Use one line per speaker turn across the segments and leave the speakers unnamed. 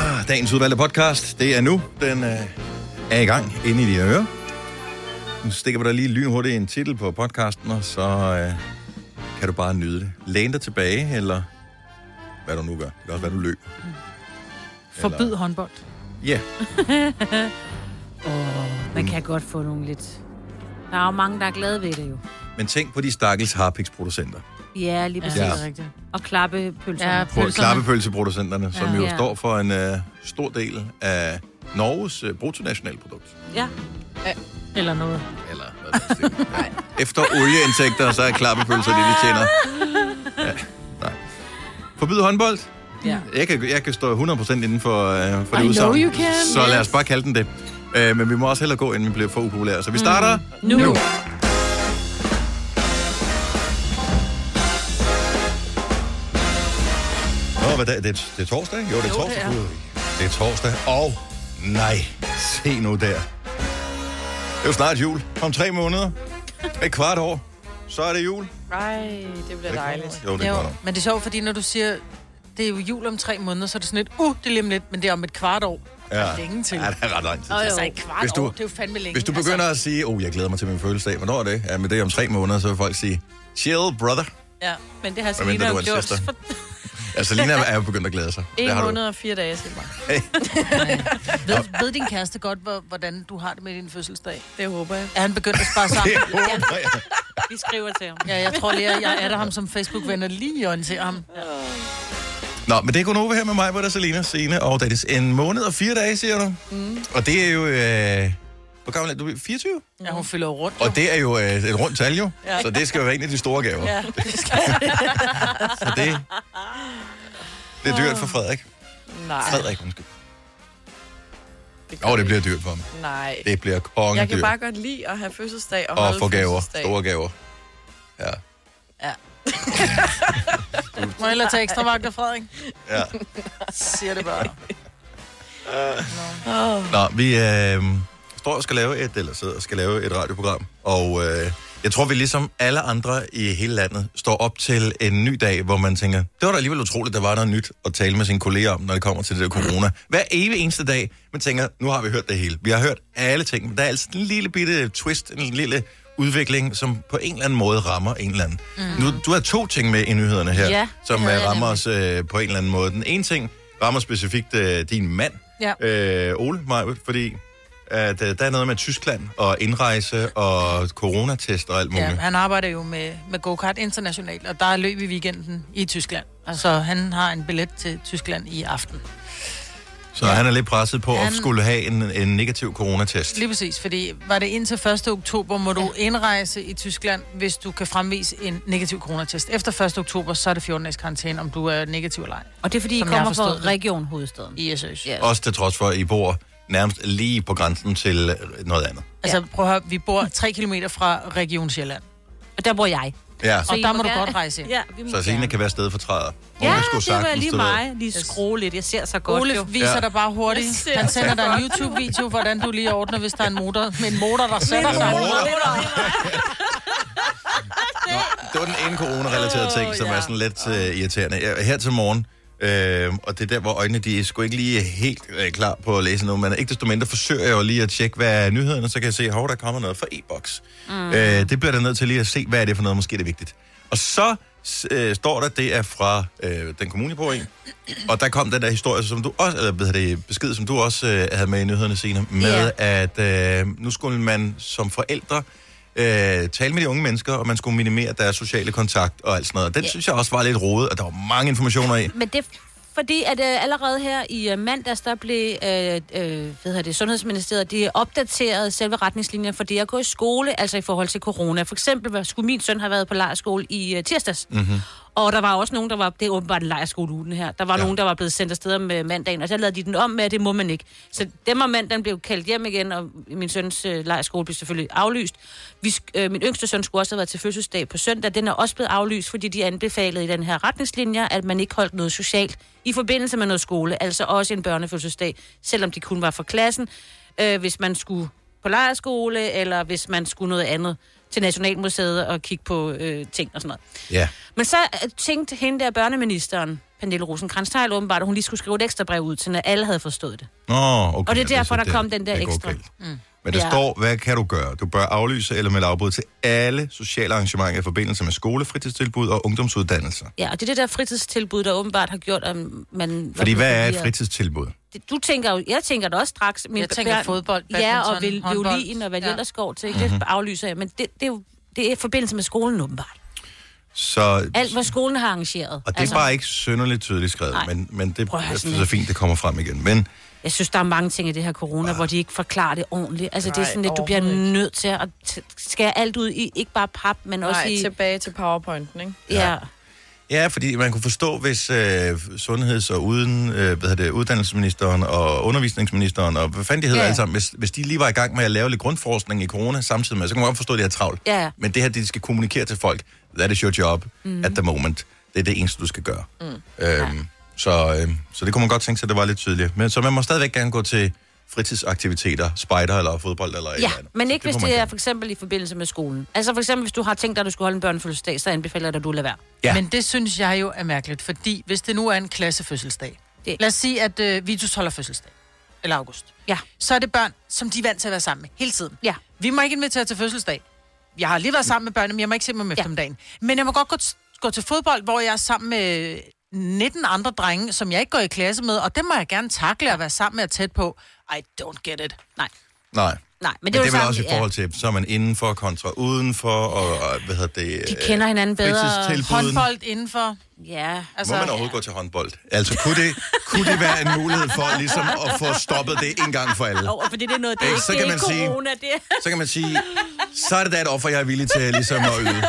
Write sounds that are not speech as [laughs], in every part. Ah, dagens udvalgte podcast. Det er nu. Den øh, er i gang inde i dine ører. Nu stikker vi dig lige lynhurtigt en titel på podcasten, og så øh, kan du bare nyde det. Læn dig tilbage, eller hvad du nu gør. Det kan også være, du løb.
Forbyd håndbold. [laughs]
Ja,
Åh, man kan godt få nogle lidt... Der er jo mange, der er glade ved det jo.
men tænk på de stakkels harpiksproducenter.
Ja, lige præcis.
Ja.
Ja. Og klappe pølserne.
Ja,
Ja,
På klappepølseproducenterne, som
Ja.
jo
Ja.
står for en øh, stor del af Norges øh, bruttonationalprodukt.
ja.
Eller noget.
Eller hvad det er. Ja. Efter olieindtægter, så er klappepølser det, de tjener. Ja. nej. Forbyd håndbold?
Ja.
Jeg kan, jeg kan stå 100% inden for, øh, for det
I
udsagn.
know you can,
Så lad os bare kalde den det. Øh, men vi må også hellere gå, inden vi bliver for upopulære. Så vi starter mm.
Nu. nu.
Nå, hvad dag? Det, er- det er torsdag, ikke? Jo, det er torsdag.
det er.
Gud, Det er torsdag. Og nej, se nu der. Det er jo snart jul. Om tre måneder. Et kvart år. Så er det jul.
Ej, det bliver dejligt.
Jo, det er
Jo,
godt. nok.
men det er sjovt, fordi når du siger, det er jo jul om tre måneder, så er det sådan lidt, uh, det er lige om lidt, men det er om et kvart år. Ja. Det er længe til.
Ja, det er ret lang tid.
Altså et kvart
Hvis du-
år, det er jo fandme længe. Altså,
Hvis du begynder at sige, oh, jeg glæder mig til min fødselsdag. Hvornår er det? Ja, men det er om tre måneder, så vil folk sige, chill, brother.
Altså, ja, men det har
Hvad mindre du er en søster. [laughs] Altså, Lina er jo begyndt at glæde sig.
En
har du.
måned og fire dage, siger mig.
Ved, ved din kæreste godt, hvor- hvordan du har det med din fødselsdag?
Det håber jeg.
Er han begyndt at spare sammen?
[laughs] Det håber jeg.
Vi skriver til ham.
Ja, jeg tror lige, at jeg er der ham som Facebook-venner lige og til ham.
Nå, men det er kun over her med mig, hvor der er Selena, Sene og Dennis. En måned og fire dage, siger du? Mm. Og det er jo... Øh, hvor gammel er du? 24?
Ja, hun fylder jo rundt.
Og det er jo øh, et rundt tal jo, ja. så det skal jo være en af de store gaver. Ja, det skal. [laughs] så det, det er dyrt for Frederik.
Nej,
Frederik, undskyld.
det
Åh, oh, det bliver dyrt for ham.
Nej.
Det bliver
Jeg kan
kongedyrt.
bare godt lide at have fødselsdag og,
Og
holde
få gaver.
fødselsdag.
Store gaver. Ja.
Må jeg hellere tage ekstra vagter, Frederik?
ja.
[laughs] Siger det bare.
Nå, vi øh, står og skal lave et, eller sidder og skal lave et radioprogram, og øh, jeg tror, vi ligesom alle andre i hele landet står op til en ny dag, hvor man tænker, det var da alligevel utroligt, der var noget nyt at tale med sine kolleger om, når det kommer til det der corona. Hver evig eneste dag, man tænker, nu har vi hørt det hele. Vi har hørt alle ting, men der er altså en lille bitte twist, en lille udvikling, som på en eller anden måde rammer en eller anden. Mm. Nu, du har to ting med i nyhederne her,
Ja,
som
det havde
øh,
jeg
rammer
nemlig.
os øh, på en eller anden måde. Den ene ting rammer specifikt øh, din mand,
Ja.
øh, Ole Majbet, fordi at, øh, der er noget med Tyskland og indrejse og coronatest og alt muligt.
Ja, han arbejder jo med, med go-kart internationalt, og der er løb i weekenden i Tyskland. Så han har en billet til Tyskland i aften.
så han er lidt presset på at
Han-
skulle have en, en negativ coronatest.
Lige præcis, fordi var det indtil 1. oktober, må du indrejse i Tyskland, hvis du kan fremvise en negativ coronatest. Efter 1. oktober, så er det 14 dages karantæne, om du er negativ eller ej.
Og det er, fordi I
Som jeg har
kommer fra
forstået det.
Region Hovedstaden.
I SOS.
Ja.
Også til trods for, at I bor nærmest lige på grænsen til øh, noget andet.
Altså, prøv at høre, vi bor 3 km fra Region Sjælland.
Og der bor jeg.
Ja,
Og
så,
I
der må du
gerne-
godt rejse ind.
Ja, vi må
så Selina
gerne.
kan være stedfortræder. Hun
Ja,
skulle
det var
sagtens,
lige
du ved.
mig. Lige skrue lidt. Jeg ser så godt,
Ole
jo.
viser
Ja.
ja. dig bare hurtigt. Han sender dig en YouTube-video, hvordan du lige ordner, hvis der er en motor, med en motor, der sætter sig.
Det var den ene corona-relaterede ting, som er sådan lidt øh, irriterende. Jeg, her til morgen, øh, og det er der, hvor øjnene de er sgu ikke lige helt øh, klar på at læse noget, men ikke desto mindre forsøger jeg jo lige at tjekke, hvad er nyhederne, så kan jeg se, hov, der kommer noget fra e-boks. Mm. Øh, det bliver der nødt til lige at se, hvad er det for noget, måske er det vigtigt. Og så s- øh, står der, det er fra øh, den kommune på en, og der kom den der historie, som du også, eller hvad hedder det, besked, som du også øh, havde med i nyhederne senere, med at øh, nu skulle man som forældre øh, tale med de unge mennesker, og man skulle minimere deres sociale kontakt og alt sådan noget. Den synes jeg også var lidt rodet, og der var mange informationer i.
Men det er fordi, at øh, allerede her i øh, mandags, der blev øh, øh, hvad hedder det, Sundhedsministeriet, de opdaterede selve retningslinjerne for det at gå i skole, altså i forhold til corona. For eksempel hvad- skulle min søn have været på lejerskole i øh, tirsdags. Mm-hmm. Og der var også nogen, der var, det er åbenbart en lejerskole uden her, der var
Ja.
ja. nogen, der var blevet sendt afsted om øh, mandagen, og så lavede de den om med, at det må man ikke. Så dem og mandagen blev kaldt hjem igen, og min søns øh, lejerskole blev selvfølgelig aflyst. Vi, sk- øh, min yngste søn skulle også have været til fødselsdag på søndag, den er også blevet aflyst, fordi de anbefalede i den her retningslinjer, at man ikke holdt noget socialt i forbindelse med noget skole, altså også en børnefødselsdag, selvom de kun var for klassen, øh, hvis man skulle på lejerskole, eller hvis man skulle noget andet. til Nationalmuseet og kigge på øh, ting og sådan noget.
Ja.
Men så øh, tænkte hende der børneministeren, Pernille rosenkrantz åbenbart, at hun lige skulle skrive et ekstra brev ud til, når alle havde forstået det.
Nå, okay.
Og det er
så
derfor, der kom den der
går
ekstra. Mm.
galt. Men der
Ja.
står, hvad kan du gøre? Du bør aflyse eller melde afbud til alle sociale arrangementer i forbindelse med skole, fritidstilbud og ungdomsuddannelser.
Ja, og det er det der fritidstilbud, der åbenbart har gjort, at man...
Fordi hvad er et
Ja.
fritidstilbud?
Det- Du tænker jo, jeg tænker da også straks... Men
Jeg tænker fodbold,
Ja,
badminton,
og vil,
håndbold.
violin og hvad
Ja.
ja. ellers går til. Ikke?
Mhm.
Det aflyser jeg, men det, det, er jo, det er i forbindelse med skolen åbenbart.
Så,
Alt, hvad skolen har arrangeret. Altså,
og det er bare ikke synderligt tydeligt skrevet,
Nej.
men, men det
Prøv at
er
høre sådan
så
lidt.
fint, det kommer frem igen. Men
Jeg synes, der er mange ting i det her corona, hvor de ikke forklarer det ordentligt. Altså, Nej, det er
Nej,
sådan lidt, du bliver
overhovedet
nødt til at t- skære alt ud i, ikke bare pap, men også
Nej,
i...
tilbage til powerpointen, ikke?
Ja.
Ja, fordi man kunne forstå, hvis øh, sundheds- og uden, øh, hvad hedder det, uddannelsesministeren og undervisningsministeren og hvad fanden de hedder
Ja.
ja. alle sammen, hvis, hvis de lige var i gang med at lave lidt grundforskning i corona samtidig med, så kan man godt forstå, at de er travlt.
Ja. Mhm.
Men det her, de skal kommunikere til folk, that is your job mm. at the moment. Det er det eneste, du skal gøre. Mm. Øhm, så, øh, så det kunne man godt tænke sig, at det var lidt tydeligt. Men så man må stadigvæk gerne gå til fritidsaktiviteter, spejder eller fodbold eller et
Ja,
eller andet.
men
Så
ikke hvis
må
det
man
er
gerne.
for eksempel i forbindelse med skolen. Altså for eksempel, hvis du har tænkt dig, at du skulle holde en børnefødselsdag, så anbefaler jeg dig, at du lader være.
Ja.
Ja. Men det synes jeg jo er mærkeligt, fordi hvis det nu er en klassefødselsdag.
Det-
Det. Lad os sige, at øh, Vitus holder fødselsdag. Eller august.
Ja.
Så er det børn, som de er vant til at være sammen med hele tiden.
Ja.
Vi må ikke invitere til fødselsdag. Jeg har lige været sammen med børnene, men jeg må ikke se dem om eftermiddagen. Men jeg må godt gå, t- gå til fodbold, hvor jeg er sammen med 19 andre drenge, som jeg ikke går i klasse med, og dem må jeg gerne takle og være sammen med og tæt på. I don't get it.
Nej,
Nej.
nej. Men det,
Men det,
er jo
er vel
samme-
også i forhold til, så er man indenfor kontra udenfor, og, og hvad hedder det...
De kender hinanden bedre.
Fritidstilbuden. Håndbold.
Håndbold indenfor.
Ja. ja.
Må man overhovedet gå til håndbold? Altså, kunne det, kunne det være en mulighed for ligesom at få stoppet det en gang for alle?
Oh, fordi det er noget, det er
Ikke,
ikke,
så
det er
kan
ikke
man sige-
corona, det er...
Så kan man sige, så er det da et offer, jeg er villig til ligesom at yde.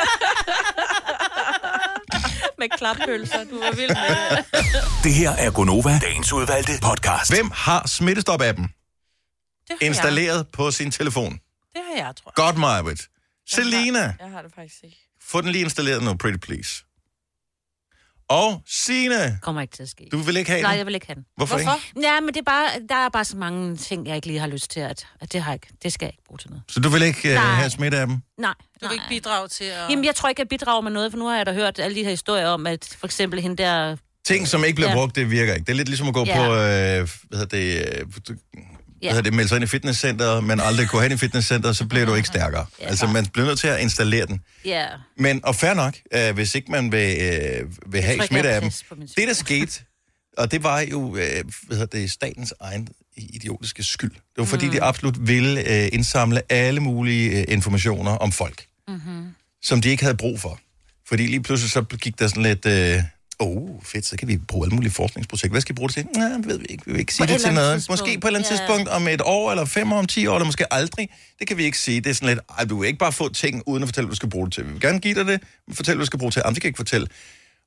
med klappølser. Du var vild med det.
Det her er Gonova, dagens udvalgte podcast.
Hvem har smittestop-appen
Det har jeg.
installeret på sin telefon?
Det har jeg, tror jeg.
Godt, Marvitt. Selina,
Jeg har det faktisk ikke.
få den lige installeret nu, pretty please. Og Sine,
[laughs] Kommer ikke til at ske.
du vil ikke have
Nej,
den?
jeg vil ikke have den.
Hvorfor,
Hvorfor?
ikke?
Ja, men det er bare, der er bare så mange ting, jeg ikke lige har lyst til, at, at det, har jeg ikke, det skal jeg ikke bruge til noget.
Så du vil ikke uh,
Nej.
have smitte-appen?
Nej,
Du kan ikke bidrage til at...
Jamen, jeg tror ikke, jeg bidrager med noget, for nu har jeg da hørt alle de her historier om, at for eksempel hende der...
ting, som ikke bliver
Ja.
brugt, det virker ikke. Det er lidt ligesom at gå
Ja.
på, øh, hvad hedder det, øh, du- hvad hedder det, melde sig ind i fitnesscenteret, men aldrig kunne have ind i fitnesscenteret, så bliver du ikke stærkere.
Ja.
Altså, man bliver nødt til at installere den.
Ja,
Men, og fair nok, øh, hvis ikke man vil, øh, vil have
ikke,
smitte
jeg
af dem.
passer på min
Det, der skete, og det var jo, øh, hvad hedder det, statens egen idiotiske skyld. Det var, fordi mm. de absolut ville øh, indsamle alle mulige øh, informationer om folk, mm-hmm. som de ikke havde brug for. Fordi lige pludselig så gik der sådan lidt, øh, oh, fedt, så kan vi bruge alle mulige forskningsprojekter. Hvad skal vi bruge det til? Nej, det ved vi ikke. Vi vil ikke sige
et
det til
eller andet
noget.
tidspunkt.
Måske på et eller andet
Ja.
tidspunkt om et år, eller fem år, om ti år, eller måske aldrig. Det kan vi ikke sige. Det er sådan lidt, ej, du vil ikke bare få ting, uden at fortælle, hvad du skal bruge det til. Vi vil gerne give dig det, men fortæl, hvad du skal bruge det til. Jamen, det kan jeg ikke fortælle.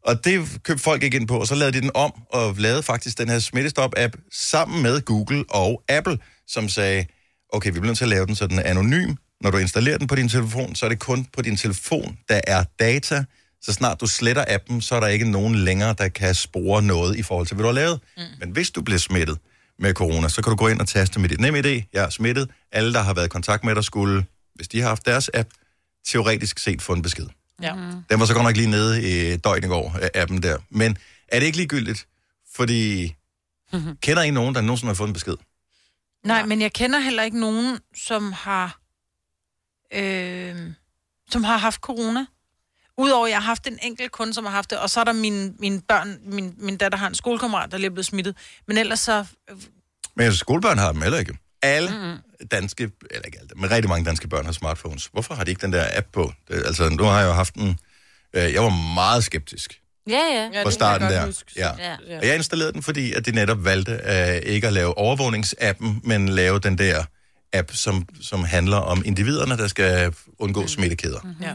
Og det købte folk ikke ind på, og så lavede de den om, og lavede faktisk den her smittestop-app sammen med Google og Apple, som sagde, okay, vi bliver nødt til at lave den, så den er anonym. Når du installerer den på din telefon, så er det kun på din telefon, der er data. Så snart du sletter appen, så er der ikke nogen længere, der kan spore noget i forhold til, hvad du har lavet. Mm. Men hvis du bliver smittet med corona, så kan du gå ind og taste med dit NemID. Jeg er smittet. Alle, der har været i kontakt med dig, skulle, hvis de har haft deres app, teoretisk set få en besked.
Ja.
Den var så godt nok lige nede i øh, døgn i går, øh, appen der. Men er det ikke ligegyldigt? Fordi kender I nogen, der nogensinde har fået en besked?
Nej, men jeg kender heller ikke nogen, som har, øh, som har haft corona. Udover, jeg har haft en enkelt kunde, som har haft det, og så er der mine, mine børn, min, min datter har en skolekammerat, der lige er blevet smittet. Men ellers så... øh,
Men altså, skolebørn har dem heller ikke. Alle danske, eller ikke alle, men rigtig mange danske børn har smartphones. Hvorfor har de ikke den der app på? Det, altså, nu har jeg jo haft en... Øh, jeg var meget skeptisk
ja,
Ja,
ja.
fra
det kan jeg
starten
godt
der.
huske.
Ja.
Ja.
Ja.
Og jeg installerede den, fordi at de netop valgte øh, ikke at lave overvågningsappen, men lave den der app, som, som handler om individerne, der skal undgå smittekæder.
Ja.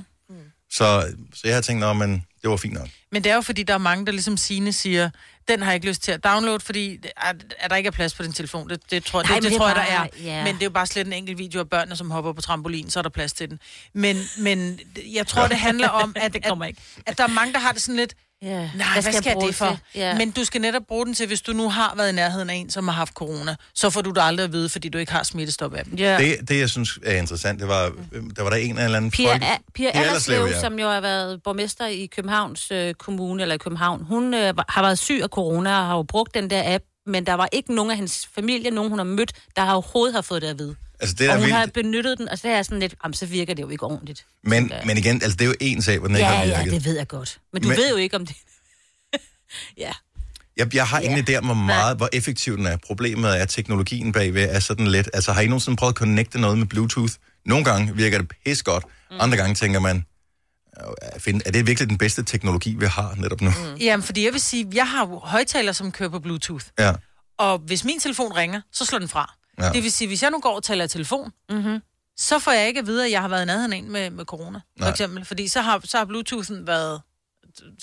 Så, så jeg har tænkt, at det var fint nok.
Men det er jo, fordi der er mange, der ligesom Signe siger, den har jeg ikke lyst til at downloade, fordi at, at der ikke er plads på din telefon. Det, det tror,
Nej,
Nej,
men
det, det
det
tror
er
jeg, der er.
bare- ja.
Men det er jo bare slet en enkelt video af børnene, som hopper på trampolin, så er der plads til den. Men, men jeg tror, det handler om,
[laughs]
at,
Det kommer ikke.
at, at der er mange, der har det sådan lidt,
Ja.
Nej, hvad skal, hvad skal jeg
bruge
det for?
til? Ja.
Men du skal netop bruge den til, hvis du nu har været i nærheden af en, som har haft corona. Så får du det aldrig at vide, fordi du ikke har smittestop af dem.
ja.
Det, det, jeg synes er interessant, det var, øh, der var der en eller anden
Pia,
folk...
A- Pia Allerslev,
ja.
som jo har været borgmester i Københavns øh, Kommune, eller i København, hun øh, var- har været syg af corona og har jo brugt den der app, men der var ikke nogen af hendes familie, nogen hun har mødt, der har overhovedet har fået det at vide.
Altså, det er
og
da
hun
vildt.
har benyttet den, og så er jeg sådan lidt, jamen, så virker det jo ikke ordentligt.
Men,
tænker jeg.
men igen, altså, det er jo en sag, hvor den ikke
Ja,
har
ja,
virket.
det ved jeg godt. Men du men...
Men-
ved jo ikke, om det... [laughs] ja.
Jeg, jeg har ingen idé om, hvor meget, hvor effektiv den er. Problemet er, at teknologien bagved er sådan lidt... Altså, har I nogensinde prøvet at connecte noget med Bluetooth? Nogle gange virker det pis godt.
Mm.
Andre gange tænker man, "Øh, find- er det virkelig den bedste teknologi, vi har netop nu? Mm.
Jamen, fordi jeg vil sige, jeg har jo højtaler, som kører på Bluetooth.
Ja.
Og hvis min telefon ringer, så slår den fra.
Ja.
Ja. Det vil sige, hvis jeg nu går og taler i telefon, mm-hmm. så får jeg ikke at vide, at jeg har været i nærheden af en med, med corona, for
Nej.
eksempel. Fordi så har, så har Bluetoothen været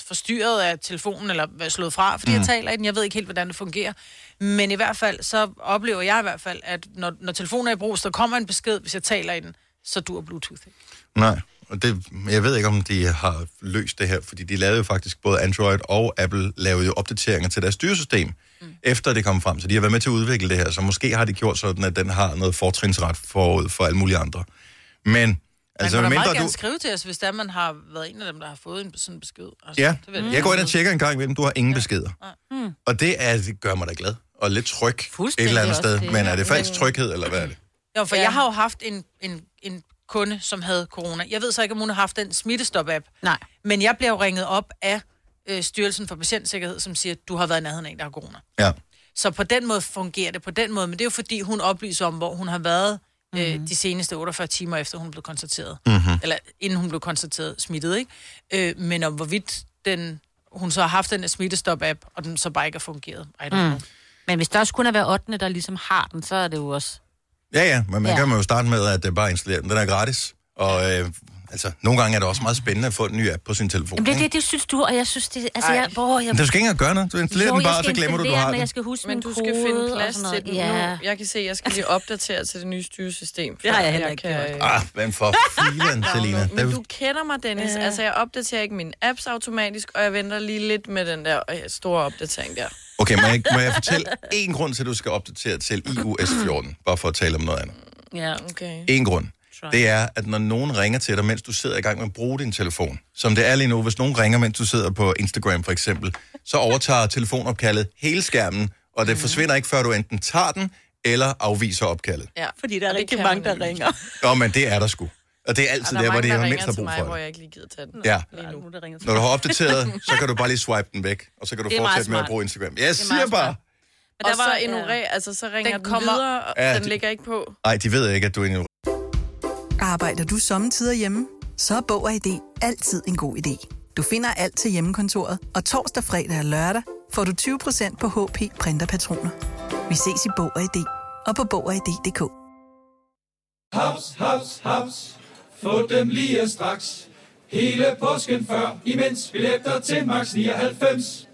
forstyrret af telefonen, eller været slået fra, fordi
Mhm.
mm. jeg taler i den. Jeg ved ikke helt, hvordan det fungerer. Men i hvert fald, så oplever jeg i hvert fald, at når, når telefonen er i brug, så der kommer en besked, hvis jeg taler i den, så dur Bluetooth ikke.
Nej, og det, jeg ved ikke, om de har løst det her, fordi de lavede jo faktisk, både Android og Apple lavede jo opdateringer til deres styresystem, mm. efter det kom frem. Så de har været med til at udvikle det her, så måske har de gjort sådan, at den har noget fortrinsret forud for alle mulige andre. Men,
Man
altså,
altså, må da
medmindre
meget gerne du... skrive til os, hvis der man har været en af dem, der har fået en sådan besked. Altså,
Ja,
det vil jeg
jeg går
gerne
ind og
vide.
tjekker en gang imellem, du har ingen beskeder. Og det, er, det gør mig da glad, og lidt tryg et
Fuldstændig
eller andet
også
sted.
det.
Men er det falsk tryghed, eller hvad er det?
Jo, for ja.
Ja.
jeg har jo haft en, en, en kunde, som havde corona. Jeg ved så ikke, om hun har haft den smittestop-app.
Nej.
Men jeg bliver jo ringet op af øh, Styrelsen for Patientsikkerhed, som siger, at du har været i nærheden af en, der har corona.
Ja.
Så på den måde fungerer det på den måde, men det er jo fordi, hun oplyser om, hvor hun har været øh, de seneste 48 timer, efter hun blev konstateret. Mm-hmm. Eller inden hun blev konstateret smittet, ikke? Øh, men om hvorvidt den, hun så har haft den der smittestop-app, og den så bare ikke har fungeret. Ej, mm.
Men hvis der også kun er hver 8. der ligesom har den, så er det jo også...
Ja, ja, men man ja.
Ja.
kan man jo starte med, at det bare installere den. Den er gratis, og øh, altså, nogle gange er det også meget spændende at få en ny app på sin telefon.
Jamen, det,
ikke?
det, det synes du, og jeg synes, det... Altså, jeg, hvor, jeg,
Men du skal ikke engang gøre noget. Du installerer
Jo,
den
jeg
bare, og
skal
så glemmer du, du
installere
har
den, og
den.
jeg skal huske
Men
min
du skal finde
kode og
plads
sådan
til den
noget.
ja.
Ja.
nu. Jeg kan se, at jeg skal lige opdatere til det nye styresystem.
Det har
før
jeg heller ikke
kan, øh,
Ah, hvem
[laughs]
for filen, Selina?
downloade. Men
Det-
du kender mig, Dennis. Ja. Altså, jeg opdaterer ikke mine apps automatisk, og jeg venter lige lidt med den der øh, store opdatering der.
Okay, må jeg, må jeg fortælle en grund til, at du skal opdatere til iOS 14? Bare for at tale om noget andet.
ja.
Okay.
En grund. Det er, at når nogen ringer til dig, mens du sidder i gang med at bruge din telefon, som det er lige nu, hvis nogen ringer, mens du sidder på Instagram for eksempel, så overtager telefonopkaldet hele skærmen, og
Mhm.
det forsvinder ikke, før du enten tager den eller afviser opkaldet.
Ja.
Fordi der
Og
er
det
rigtig
kan
mange,
man
der
nemlig.
ringer.
Nå, men det er der sgu. Og det er
Og
altid
der
der,
er
hvor
mange,
det er
der
mindst
ringer
har
til
brug
mig,
for
hvor
det.
jeg ikke lige gider tage den.
Ja.
Lige nu.
der ringer til
Når du har opdateret,
[laughs]
så kan du bare lige swipe den væk, og så kan du
Det er meget
fortsætte med at
smart.
bruge Instagram. Jeg siger
meget
bare,
Men
Og
der var-
så ignorer, altså så ringer den,
Den kommer-
videre, og
Ja,
den
det-
ligger ikke på.
nej, de ved ikke, at du er en
Arbejder du sommetider hjemme? Så er Bog og ID altid en god idé. Du finder alt til hjemmekontoret, og torsdag, fredag og lørdag får du 20% på HP Printerpatroner. Vi ses i Bog og ID og på Bog og ID.dk.
Haps, haps, haps. Få dem lige straks. Hele påsken før, imens billetter til max 99.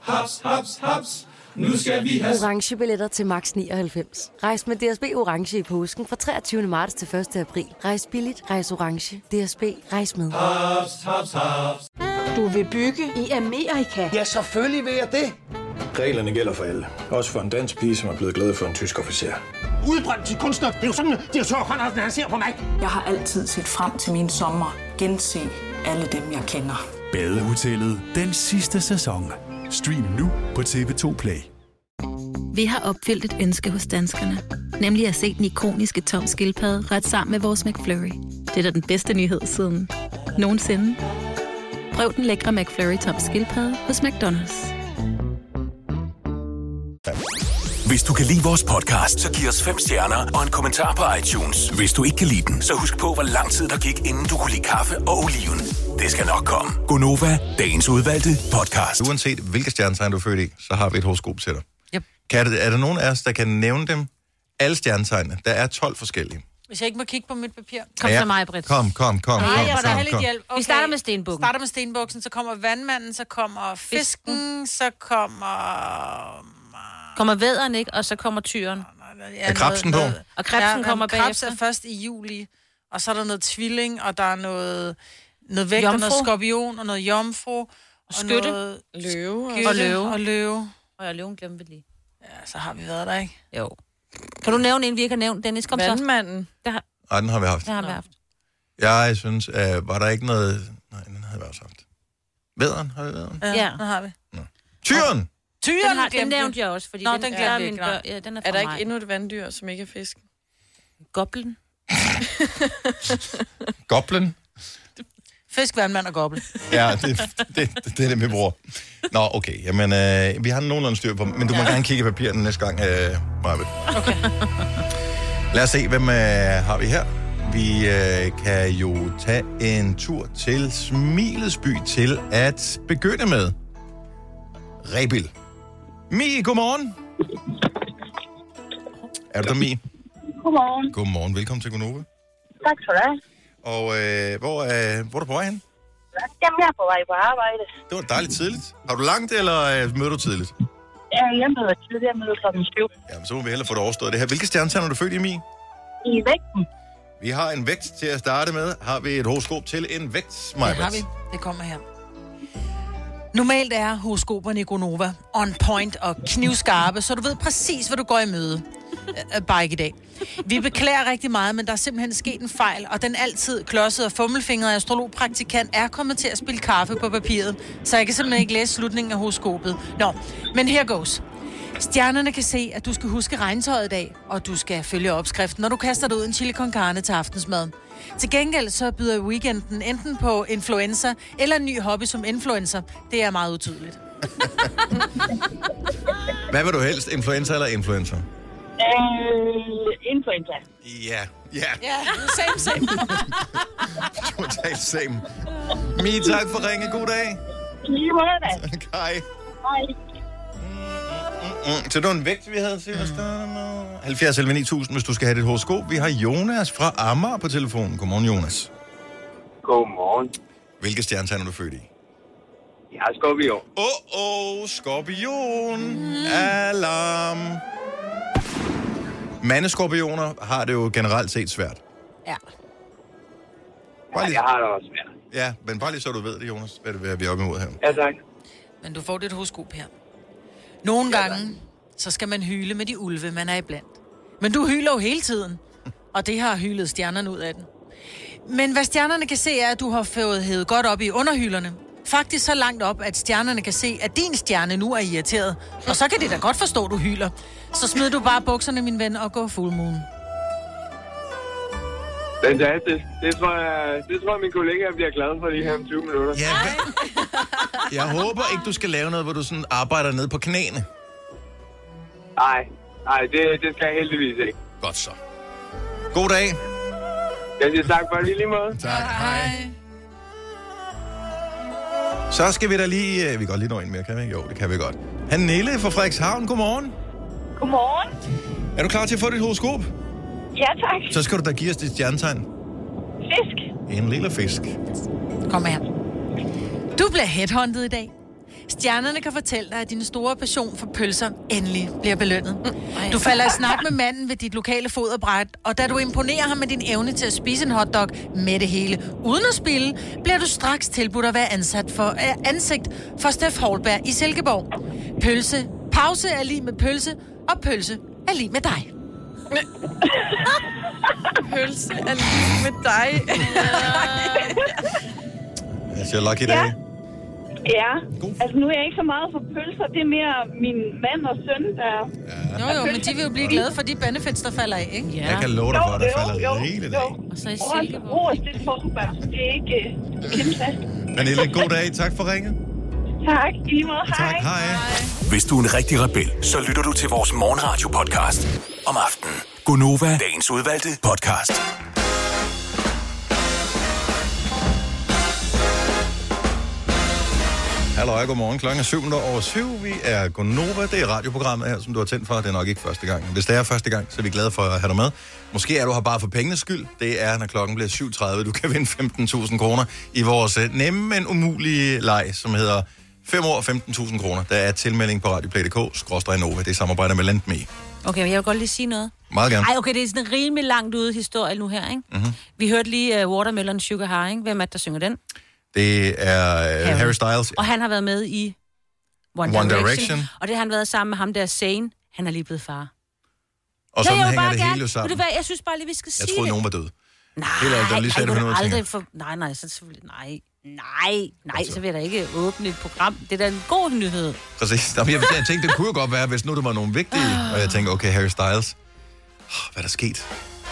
Haps, haps, haps. Nu skal vi have
Orange billetter til max 99. Rejs med DSB Orange i påsken fra 23. marts til 1. april. Rejs billigt, rejs orange. DSB, rejs med.
haps, haps, haps.
Reglerne gælder for alle. Også for en dansk pige, som er blevet glad for en tysk officer.
udbrændt til kunstner. Det er jo sådan, at de har tørt hånden, han ser på mig.
Jeg har altid set frem til min sommer, gense alle dem, jeg kender.
Badehotellet den sidste sæson. Stream nu på TV2 Play.
Vi har opfyldt et ønske hos danskerne. Nemlig at se den ikoniske tom skildpadde ret sammen med vores McFlurry. Det er da den bedste nyhed siden nogensinde. Prøv den lækre McFlurry tom skildpadde hos McDonald's.
Hvis du kan lide vores podcast, så giv os fem stjerner og en kommentar på iTunes. Hvis du ikke kan lide den, så husk på, hvor lang tid der gik, inden du kunne lide kaffe og oliven. Det skal nok komme. Gonova, dagens udvalgte podcast.
Uanset hvilke stjernetegn du er født i, så har vi et horoskop til dig.
Yep.
Kan det, er der nogen af os, der kan nævne dem? Alle stjernetegnene. Der er 12 forskellige.
Hvis jeg ikke må kigge på mit papir,
Kom
Ja.
så mig, Britt.
Kom, kom, kom.
Nej,
kom,
jeg skal
kom,
have lidt
kom.
hjælp.
Vi starter med stenbukken.
starter med stenbuksen, så kommer vandmanden, så kommer fisken, så kommer... øh,
Kommer vædderen, ikke? Og så kommer tyren.
Ja,
Er krebsen på?
Og krebsen
men
kommer
Krebs er
bagefter.
først i juli, og så er der noget tvilling, og der er noget, noget vægt, og
Jomfru.
noget skorpion, og noget jomfru,
Skytte.
noget-
Løve.
Skytte. Og løve.
Og løve.
Og jeg løven glemte vi lige.
Ja, så har vi været der, ikke?
Jo. Kan du nævne en, vi ikke har nævnt, Dennis? Kom
Vandmanden.
så. Der har,
Ej, den har vi haft.
der har vi haft.
Jeg synes, øh, var der ikke noget... Nej, den havde vi også haft. Vædderen, har vi vædderen?
Ja, ja.
den har vi.
Tyren!
Tyren
den, har, den
glemte vi.
nævnte jeg også, fordi
Nå,
den,
den
der
glemte
er
vi
min
ikke, nej.
bør, ja, den er fra
Er der
mig.
ikke endnu et vanddyr, som ikke er fisk?
Goblen?
Goblen?
Fisk, vandmand og goble.
[laughs] Ja, det, det, det, det er det, vi bruger. Nå, okay. Jamen, øh, vi har nogenlunde styr på dem, men du må
Ja.
gerne kigge i papirerne næste gang, øh, Marvitt. Okay. [laughs] Lad os se, hvem øh, har vi her. Vi øh, kan jo tage en tur til Smilets by til at begynde med. Rebil. Mi, godmorgen. Er du der, Mi?
Godmorgen.
Godmorgen. Velkommen til Gunova.
Tak for det.
Og øh, hvor, øh, hvor er du på vej hen?
Jamen, jeg er på vej på arbejde.
Det var dejligt tidligt. Har du langt, eller øh, møder du tidligt?
Ja, jeg møder tidligere møder klokken 7
Jamen, så må vi hellere få det overstået det her. Hvilke stjernetegn er du født i, Mi?
i vægten.
Vi har en vægt til at starte med. Har vi et horoskop til en vægt,
Det har vi.
Majbert?
Det kommer her. Normalt er horoskoperne i Gonova on point og knivskarpe, så du ved præcis, hvad du går i møde. Øh, øh, Bare ikke i dag. Vi beklager rigtig meget, men der er simpelthen sket en fejl, og den altid klodsede og fummelfingrede astrologpraktikant er kommet til at spille kaffe på papiret, så jeg kan simpelthen ikke læse slutningen af horoskopet. Nå, men her goes. Stjernerne kan se, at du skal huske regntøjet i dag, og du skal følge opskriften, når du kaster dig ud en chili con carne til aftensmad. Til gengæld så byder weekenden enten på influenza eller en ny hobby som influencer. Det er meget utydeligt.
Hvad vil du helst, influenza eller influencer?
Øh, influenza.
Ja, ja,
Ja, same, same.
totalt same. Mi, tak for ringe. God dag.
Lige måde da.
[laughs] Hej.
Hej.
Mm, så det var en vægt, vi havde til at starte med. 70 11 9000, hvis du skal have dit horoskop. Vi har Jonas fra Amager på telefonen. Godmorgen, Jonas.
Godmorgen.
Hvilke stjernetegn er du født i?
Jeg er skorpion.
Åh, oh, oh, skorpion. Alarm. Mandeskorpioner har det jo generelt set svært.
Ja.
Bare lige,
Jeg har det også svært.
ja, men bare lige så du ved det, Jonas, hvad det er, vi er oppe imod her.
Ja, tak.
Men du får dit horoskop her. Nogle gange, så skal man hyle med de ulve, man er iblandt. Men du hyler jo hele tiden, og det har hylet stjernerne ud af den. Men hvad stjernerne kan se, er, at du har fået hævet godt op i underhylderne. Faktisk så langt op, at stjernerne kan se, at din stjerne nu er irriteret. Og så kan de da godt forstå, at du hyler. Så smid du bare bukserne, min ven, og gå full moon.
Fantastisk. Det tror jeg, det tror jeg min kollega bliver glad for lige her om 20 minutter.
Ja, Jeg håber ikke, du skal lave noget, hvor du sådan arbejder ned på knæene.
Nej, nej, det, det skal jeg heldigvis ikke.
Godt så. God dag.
Jeg siger tak for det i lige måde.
Tak, hej. Så skal vi da lige... øh, Vi kan godt lige nå en mere, kan vi ikke? Jo, det kan vi godt. Han Nille fra Frederikshavn, godmorgen.
Godmorgen.
Er du klar til at få dit horoskop?
Ja, tak.
Så skal du da give os dit stjernetegn.
Fisk.
En lille fisk.
Kom her. Du bliver headhunted i dag. Stjernerne kan fortælle dig, at din store passion for pølser endelig bliver belønnet. Du falder i snak med manden ved dit lokale foderbræt, og da du imponerer ham med din evne til at spise en hotdog med det hele uden at spille, bliver du straks tilbudt at være ansat for, øh, ansigt for Steff Holberg i Silkeborg. Pølse. Pause er lige med pølse, og pølse er lige med dig.
Pølse er lige med dig.
Jeg siger lucky day. Ja.
Ja. Altså, nu er jeg ikke så meget for pølser. Det er mere min mand og søn, der...
Jo, jo, men de vil jo blive glade for de benefits, der falder af, ikke? Ja.
Jeg kan love dig for, at der falder rigeligt af.
Og så i
Ros, det er forbar. Det er ikke øh, kæmpe plads.
Pernille, god dag. Tak for ringet.
Tak, i lige måde. Hej.
Hej.
Hvis du er en rigtig rebel, så lytter du til vores morgenradio-podcast om aftenen. Gunova, dagens udvalgte podcast.
Hallo, og godmorgen. Klokken er 7 over 7. Vi er Gonova. Det er radioprogrammet her, som du har tændt for. Det er nok ikke første gang. Hvis det er første gang, så er vi glade for at have dig med. Måske er du her bare for pengenes skyld. Det er, når klokken bliver 7.30. Du kan vinde 15.000 kroner i vores øh, nemme, men umulige leg, som hedder 5 år 15.000 kroner. Der er tilmelding på radioplay.dk, skråstrej Nova. Det samarbejder med Landme.
Okay, men jeg vil godt lige sige noget.
Meget gerne.
Ej, okay, det er sådan en
Mhm.
øh, rimelig langt ude historie nu her, ikke? Mm-hmm. Vi hørte lige uh, Watermelon Sugar High, ikke? Hvem er det, der synger den?
Det er øh, Harry Styles.
Og han har været med i One,
One
One Direction.
Direction.
Direction. Og det har han været sammen med ham der Zane. Han er lige blevet far.
Og
Ja,
sådan
jeg vil
hænger
bare
det
gerne-
hele jo
Ved
sammen.
du hvad, jeg synes bare lige, vi skal
Jeg
sige
troede,
det.
nogen var død.
Nej,
Helt ærligt, det var lige
ej,
sat
jeg
på
kunne
noget,
aldrig for... Nej, nej, så selvfølgelig... Nej, nej, nej,
Altså.
så vil jeg da ikke åbne et program. Det er da en god nyhed.
Præcis. Jamen, jeg, jeg tænkte, det kunne jo godt være, hvis nu der var nogle vigtige. Og jeg tænkte, okay, Harry Styles. Oh, hvad er der sket?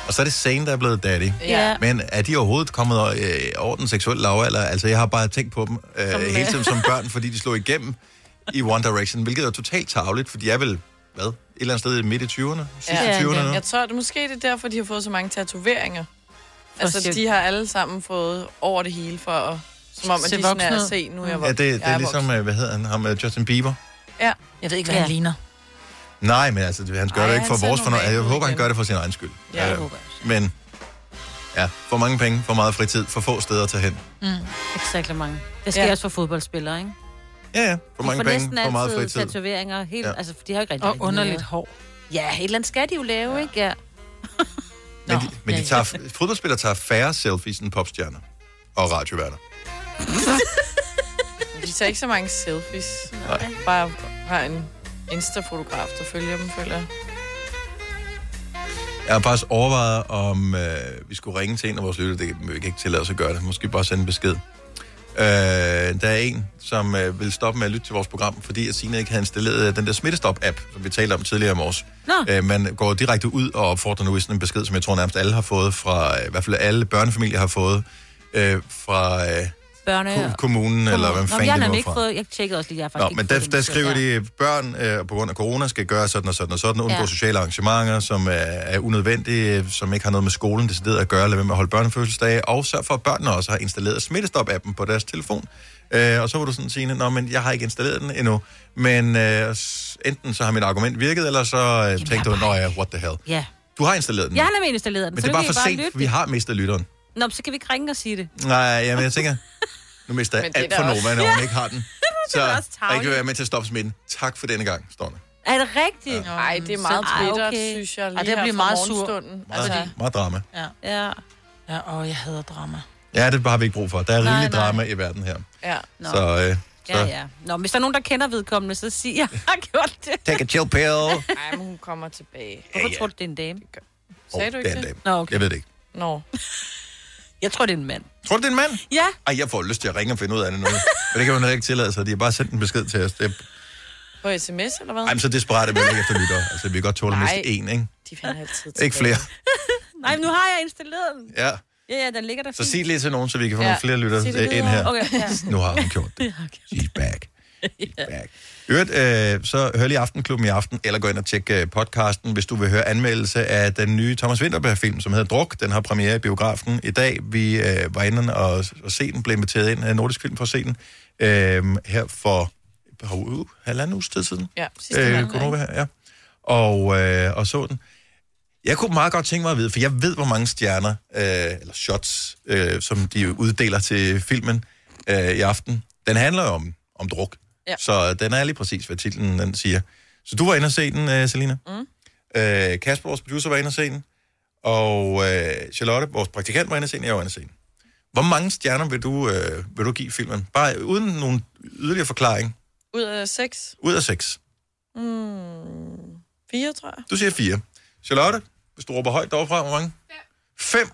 Og så er det Zayn, der er blevet daddy.
Ja.
Men er de overhovedet kommet øh, over den seksuelle lavalder? Altså, jeg har bare tænkt på dem øh,
Som, øh,
hele tiden som børn, fordi de slog igennem i One Direction, hvilket er totalt tavligt, for de er vel, hvad, et eller andet sted i midt i 20'erne? Sidste ja, 20'erne nu?
Jeg tror, det måske det er derfor, de har fået så mange tatoveringer.
For
Altså,
shit.
de har alle sammen fået over det hele for at... Som om, at
Se
de sådan
voksen
er
ud.
at se, nu er jeg
Ja,
voksen.
det, det
jeg
er
voksen."
ligesom, øh, hvad hedder han, ham, øh, Justin Bieber?
Ja.
Jeg ved ikke, hvad ja. han ligner.
Nej, men altså, det- han gør
Ej,
det ikke
han
for
ser
vores fornøjelse.
normal
Jeg
ud
håber, han
igen.
gør det for sin egen skyld.
Ja, det
Øh,
håber
Men, ja, for mange penge, for meget fritid, for få steder at tage hen.
Mm. Exakt mange. Det sker
Ja.
ja. også for fodboldspillere, ikke?
Ja, ja, for
De
mange
får
penge,
næsten
for meget
altid
fritid.
tatoveringer. Helt,
Ja.
ja. Altså, for de har jo ikke rigtig
Og
rigtig
underligt
noget.
hår.
Ja, et eller andet skal de jo lave, ja. ikke? Ja.
Men de, men de tager, fodboldspillere tager færre selfies end popstjerner og radioværter.
De tager ikke så mange selfies.
Nej.
Bare har en Insta-fotograf, der følger dem, føler jeg.
Jeg har faktisk overvejet, om øh, vi skulle ringe til en af vores lytter. Det kan vi kan ikke tillade os at gøre det. Måske bare sende en besked. Øh, der er en, som øh, vil stoppe med at lytte til vores program, fordi at Signe ikke havde installeret øh, den der smittestop-app, som vi talte om tidligere i morges.
Nå.
Øh, man går direkte ud og opfordrer nu i sådan en besked, som jeg tror nærmest alle har fået fra, øh, i hvert fald alle børnefamilier har fået øh, fra øh,
Børne...
ko- kommunen, eller hvem
Nå, men jeg
fanden
har
det nu
nemlig
er
ikke
fra.
fået... Jeg tjekkede også lige, jeg har
Nå,
faktisk
men
ikke
der,
fået
der
den
skriver
besked.
de, at børn øh, på grund af corona skal gøre sådan og sådan og sådan, undgå ja.
Ja.
sociale arrangementer, som er, er unødvendige, øh, som ikke har noget med skolen decideret at gøre, lad være med at holde børnefødselsdage, og sørg for, at børnene også har installeret smittestop-appen på deres telefon. Øh, og så var du sådan sige, nå, men jeg har ikke installeret den endnu, men øh, s- enten så har mit argument virket, eller så øh, tænkte du, nå ja, what the hell.
Ja.
Du har installeret den,
Jeg
ja,
har nemlig installeret den,
men
så
det er
nu kan
bare for
I
sent,
lytte.
vi har mistet lytteren.
Nå, men så kan vi ikke ringe og sige det.
Nej, jamen, jeg tænker, nu mister jeg
Men det er
alt
da
for
også-
Nova, når hun
Ja.
ikke
[laughs]
har den. Så
da også
der ikke vil
tarveligt.
være med til at stoppe smitten. Tak for denne gang, står der.
Er det rigtigt? Ah,
Nej, det er meget bittert, synes jeg, lige
og det
her
bliver
fra
meget sur.
morgenstunden.
Meget,
Altså-
meget drama.
Ja.
ja.
Ja, og jeg hader drama.
Ja, det har vi ikke brug for. Der er
Nej,
rigelig
nej.
drama i verden her.
Ja.
Nå.
Så, øh, så
Ja, ja. Nå, men hvis der er nogen, der kender vedkommende, så sig, jeg har [laughs] gjort det.
take a chill
[laughs]
pill.
Ej, men hun kommer tilbage.
Hvorfor tror du, det er en dame?
Sagde du ikke
det er en
det?
dame.
Nå, okay.
Jeg ved det ikke.
Nå.
Jeg tror, det er en mand.
Tror du, det er en mand?
Ja.
Ej, jeg får lyst til at ringe og finde ud af det nu. Men det kan man heller ikke tillade sig. De har bare sendt en besked til os. Det er,
På sms, eller hvad?
ej, men så desperat er vi heller ikke efter lytter. Altså, vi kan godt tåle mest
Nej.
én, ikke?
De finder altid
Ikke flere.
Nej, men nu har jeg installeret den.
Ja.
Ja, ja, den ligger der
Så
fint.
sig det lige til nogen, så vi kan få
Ja.
nogle flere lytter
Sig det
øh, ind
videre.
her.
Okay, ja.
Nu har hun gjort det. I Øvrigt, øh, så hør lige Aftenklubben i aften, eller gå ind og tjek øh, podcasten, hvis du vil høre anmeldelse af den nye Thomas Winterberg-film, som hedder Druk. Den har premiere i biografen i dag. Vi øh, var inde og, og se den, blev inviteret ind af Nordisk Film for at se den øh, her for et par uger, halvanden uges tid siden.
Ja, sidste halvanden,
kunne du være- Øh, ja. Og, øh, og så den. Jeg kunne meget godt tænke mig at vide, for jeg ved, hvor mange stjerner, øh, eller shots, øh, som de uddeler til filmen øh, i aften. Den handler jo om, om druk.
Ja.
Så den er lige præcis, hvad titlen den siger. Så du var inde og se den, øh, Selina.
Mm.
Øh, Kasper, vores producer, var inde og se den. Og øh, Charlotte, vores praktikant, var inde og se den. Jeg var inde og se den. Hvor mange stjerner vil du, øh, vil du give filmen? Bare uden nogen yderligere forklaring.
Ud af seks?
Ud af seks.
Mm, fire, tror jeg.
Du siger fire. Charlotte, hvis du råber højt derovre fra, hvor mange? Fem. Fem.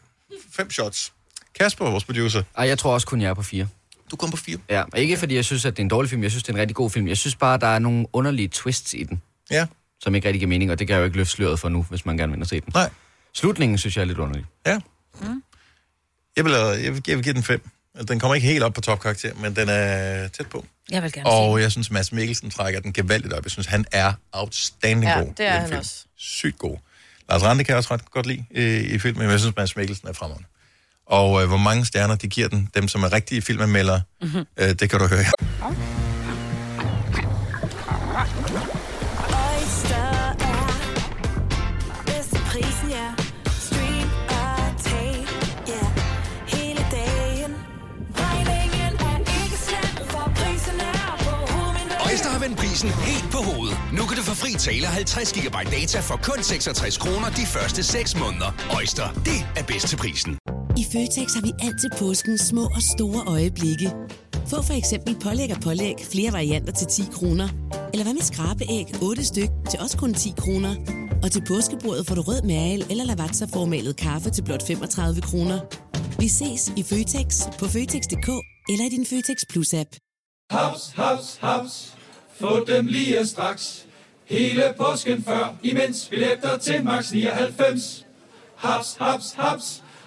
Fem shots. Kasper, vores producer.
Ej, jeg tror også kun, jeg er på fire.
Du kom på fire?
Ja, og ikke fordi jeg synes, at det er en dårlig film. Jeg synes, det er en rigtig god film. Jeg synes bare, der er nogle underlige twists i den.
Ja.
Som ikke rigtig giver mening, og det kan jeg jo ikke løfte sløret for nu, hvis man gerne vil ind og se den.
Nej.
Slutningen synes jeg er lidt underlig.
Ja. Jeg vil, øh, jeg, vil, jeg vil give den fem. Altså, Den kommer ikke helt op på topkarakter, men den er tæt på.
[laughs] Jeg vil gerne
Og jeg synes, Mads Mikkelsen trækker den gevaldigt op. Jeg synes, han er outstanding
Ja,
god.
det
i
er
den
han også.
Sygt god. Lars Rande kan jeg også ret godt lide øh, i filmen, men jeg synes, Mads Mikkelsen er fremragende. Og øh, hvor mange stjerner de giver den, dem som er rigtige filmanmeldere,
Mhm.
mm-hmm. øh, det kan du høre.
Oyster er bedst til prisen, ja. Stream og tag, ja. Hele dagen. Regningen er ikke slem, for prisen er på hovedet.
Øjster har vendt prisen helt på hovedet. Nu kan du få fri tale 50 GB data for kun 66 kroner de første 6 måneder. Øjster, det er bedst til prisen.
I I Føtex har vi altid påskens små og store øjeblikke. Få for eksempel pålæg og pålæg flere varianter til 10 kroner. Eller hvad med skrabeæg 8 styk til også kun 10 kroner. Og til påskebordet får du rød mal eller lavatserformalet kaffe til blot 35 kroner. Vi ses i Føtex på Føtex.dk eller i din Føtex Plus-app.
Haps, haps, haps. Få dem lige straks. Hele påsken før, imens billetter til max 99. Haps, haps, haps.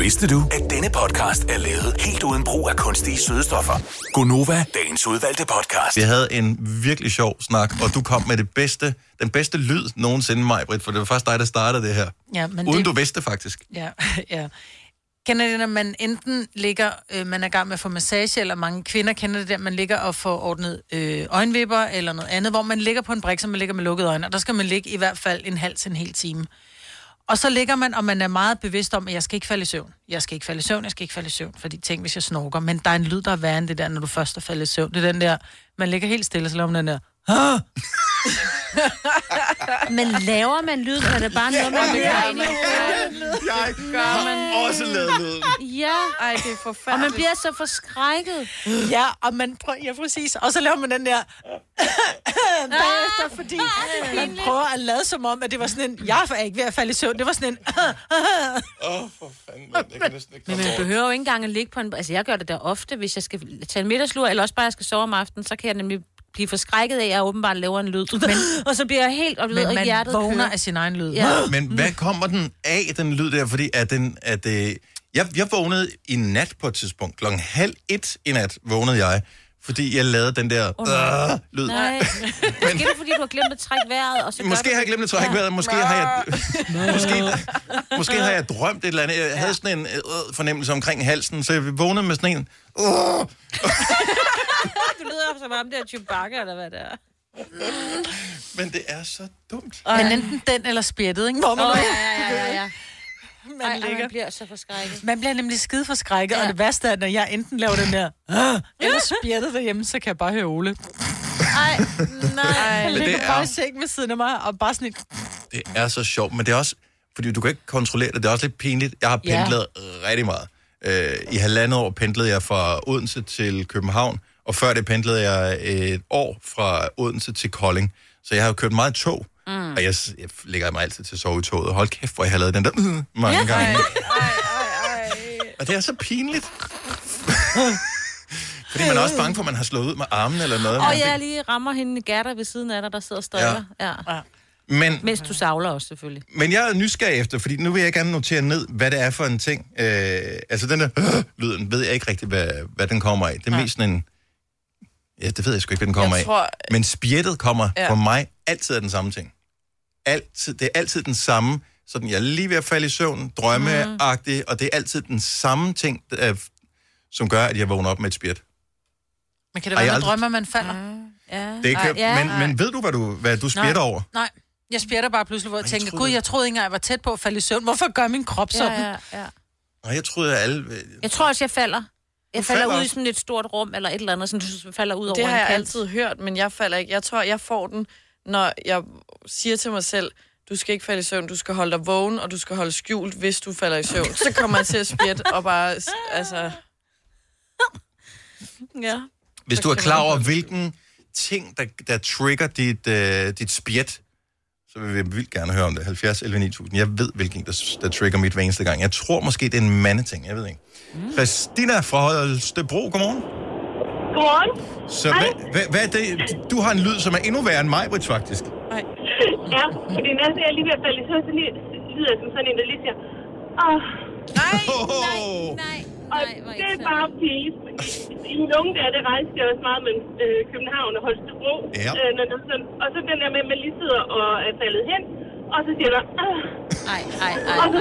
Vidste du, at denne podcast er lavet helt uden brug af kunstige sødestoffer?
Gunova,
Dagens udvalgte podcast.
Vi havde en virkelig sjov snak, og du kom med det bedste, den bedste lyd nogensinde, mig, Britt, for det var først dig, der startede det her.
Ja, men
Uden
det-
du vidste det, faktisk.
Ja, [laughs] ja. Kender I det, når man enten ligger, øh, man er i gang med at få massage, eller mange kvinder kender det der, man ligger og får ordnet øh, øjenvipper eller noget andet, hvor man ligger på en brik, som man ligger med lukkede øjne, og der skal man ligge i hvert fald en halv til en hel time. Og så ligger man, og man er meget bevidst om, at jeg skal ikke falde i søvn. Jeg skal ikke falde i søvn, jeg skal ikke falde i søvn, fordi tænk, hvis jeg snorker. Men der er en lyd, der er værre end det der, når du først er faldet i søvn. Det er den der, man ligger helt stille, så laver man den der. "Ah!"
Men laver man lyd, er det bare noget, man lægger ind i?
Jeg
gør man.
Også lavet lyden.
Ja. Ej, det er forfærdeligt. Og man bliver så forskrækket.
Ja, og man prøver, ja præcis, og så laver man den der
Ah!
bagefter, fordi man prøver at lade som om, at det var sådan en, jeg er ikke ved at falde i søvn, det var sådan en,
Åh, oh, for fanden, man. Jeg kan næsten ikke
Men man behøver jo ikke engang at ligge på en... Altså, jeg gør det der ofte, hvis jeg skal tage en middagslur, eller også bare, jeg skal sove om aftenen, så kan jeg nemlig blive forskrækket af, at jeg åbenbart laver en lyd. Men, [laughs] og så bliver jeg helt oplevet,
[laughs] Men
og
man
hjertet
vågner af sin egen lyd.
Ja.
Men hvad kommer den af, den lyd der? Fordi at den, at, øh, jeg, jeg vågnede i nat på et tidspunkt. Klokken halv et i nat vågnede jeg, fordi jeg lavede den der øh, lyd.
Nej. Måske er det, fordi du har glemt at trække vejret, og så gør
Måske
du...
har jeg glemt at trække vejret, måske har jeg, måske, [laughs] måske har jeg drømt et eller andet. Jeg havde sådan en øh, fornemmelse omkring halsen, så jeg vågnede med sådan en... Øh,
du lyder som ham der Chewbacca, eller hvad det er.
men det er så dumt.
men enten den eller spjættet, ikke? Hvor man,
Åh,
oh,
ja, ja, ja, ja, ja.
man,
Ej, og
ligger.
man bliver så forskrækket.
man bliver nemlig skide for skrækket, ja. og det værste er, når jeg enten laver den der, "Ah", eller spjættet derhjemme, så kan jeg bare høre Ole.
Ej,
nej. Jeg
Men det
ligger bare
er-
i sengen ved siden af mig, og bare sådan et,
Det er så sjovt, men det er også... Fordi du kan ikke kontrollere det. Det er også lidt pinligt. Jeg har
Ja.
pendlet ja. rigtig meget. Øh, I halvandet år pendlede jeg fra Odense til København, og før det pendlede jeg et år fra Odense til Kolding. Så jeg har jo kørt meget i tog, mm. og jeg, s- jeg lægger mig altid til at sove i toget. Hold kæft, hvor jeg har lavet den der øh, mange gange. Og det er så pinligt. [laughs] Fordi man er også bange for, at man har slået ud med armen eller noget.
Og
Men
jeg lige rammer hende i gatter ved siden af dig, der sidder og støjler. Ja. ja.
det- Men
Mens du savler også, selvfølgelig.
Men jeg er nysgerrig efter, fordi nu vil jeg gerne notere ned, hvad det er for en ting. Øh, altså den der øh, lyden, ved jeg ikke rigtig, hvad, hvad den kommer af. Det er mest sådan en... Ja, det ved jeg sgu ikke, hvad den kommer
Jeg
af.
tror-
Men spjættet kommer
Ja.
ja. for mig altid af den samme ting. Altid, det er altid den samme. Sådan, jeg er lige ved at falde i søvn, drømmeagtig,
Mhm.
mm. og det er altid den samme ting, øh, som gør, at jeg vågner op med et spjæt.
man kan det være,
Ej, jeg
når
aldrig-
drømmer, man falder. Ja.
Det kan, men, men ved du, hvad du, hvad du spjætter over?
Nej, jeg spjætter bare pludselig, hvor jeg tænker, gud, jeg troede ikke engang, jeg var tæt på at falde i søvn. Hvorfor gør min krop
Ja,
sådan?
ja, ja.
Og jeg troede, at alle...
Jeg tror også, jeg falder. Jeg
Du
falder,
falder
ud i
også?
sådan et stort rum, eller et eller andet, sådan, du falder ud
Det
over
har
en
jeg
kant.
altid hørt, men jeg falder ikke. Jeg tror, jeg får den, når jeg siger til mig selv, du skal ikke falde i søvn, du skal holde dig vågen, og du skal holde skjult, hvis du falder i søvn. Så kommer man til at spjætte og bare, s- altså... Ja.
Hvis du er klar over, hvilken ting, der, der trigger dit, øh, dit spjæt, så vil vi vildt gerne høre om det. 70 11 9000. Jeg ved, hvilken der, der trigger mit hver eneste gang. Jeg tror måske, det er en mandeting. Jeg ved ikke. Mm. Christina fra Holstebro, godmorgen.
Godmorgen.
Så hvad, hvad, hvad er det? Du har en lyd, som er endnu værre end mig, Britt, faktisk.
ja, fordi næsten jeg er lige ved at falde i søvn, så lige, lyder jeg som sådan en, der lige siger, åh, nej, nej, nej. Og det er bare pinligt, fordi i min unge der, det rejste jeg også meget mellem øh, København og Holstebro.
Ja.
Øh, når der sådan, og så den der med, at man lige sidder og er faldet hen, og så siger der, nej, nej, nej, Og så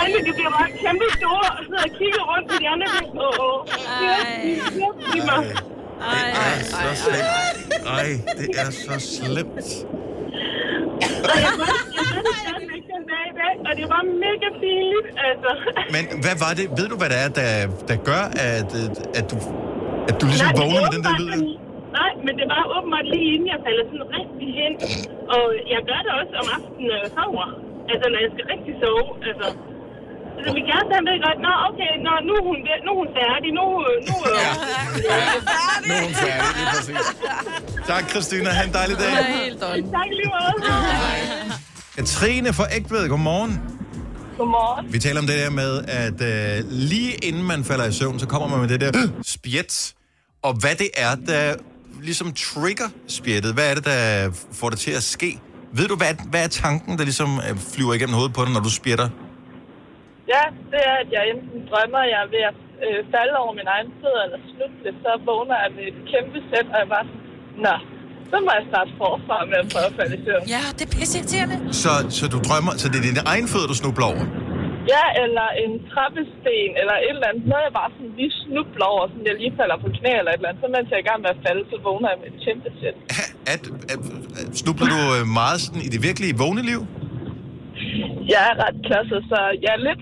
øjnene de bliver meget kæmpe store og sidder og kigger rundt på de andre. og tænker, Åh, åh, det er mig.
Det er så slemt. Ej, det er så slemt.
Og jeg ved jeg ved det stadigvæk den dag i dag, og det var mega pinligt, altså.
Men hvad var det? Ved du, hvad det er, der, der gør, at, øh, at, du, at du ligesom
Nej, men det
vågner
er
med den
åbenbart
der lyd?
fordi- Nej, men det var åbenbart lige inden jeg falder sådan rigtig hen. Og jeg gør det også om aftenen, når jeg sover. Altså, når jeg skal rigtig sove. Altså, altså min kæreste, han ved godt, nå, okay, nå, nu er hun, ved- nu er hun færdig, nu... øh, nu ja.
Nu er hun færdig, lige præcis. Tak, Christina. Ha' en dejlig dag.
helt dårligt. Tak i lige måde.
[laughs]
Katrine fra Ægtved, godmorgen.
Godmorgen.
Vi taler om det der med, at øh, lige inden man falder i søvn, så kommer man med det der [gasps] spjæt. Og hvad det er, der ligesom trigger spjættet. Hvad er det, der får det til at ske? Ved du, hvad, hvad er tanken, der ligesom øh, flyver igennem hovedet på dig, når du spjætter?
Ja, det er, at jeg enten drømmer, at jeg er ved at øh, falde over min egen fødder eller snuble, så vågner jeg med et kæmpe sæt, og jeg bare sådan, nå, så må jeg starte forfra med at prøve at falde i søvn. Ja, det er pisseirriterende.
Så, så du drømmer, så det er dine egne fødder, du snubler over?
Ja, eller en trappesten, eller et eller andet. Noget, jeg bare sådan lige snubler over, sådan jeg lige falder på knæ eller et eller andet. Så mens jeg er i gang med at falde, så vågner jeg med et kæmpe sæt.
At, at, at snubler du øh, meget sådan i det virkelige vågne liv?
Jeg er ret klodset, så jeg er lidt...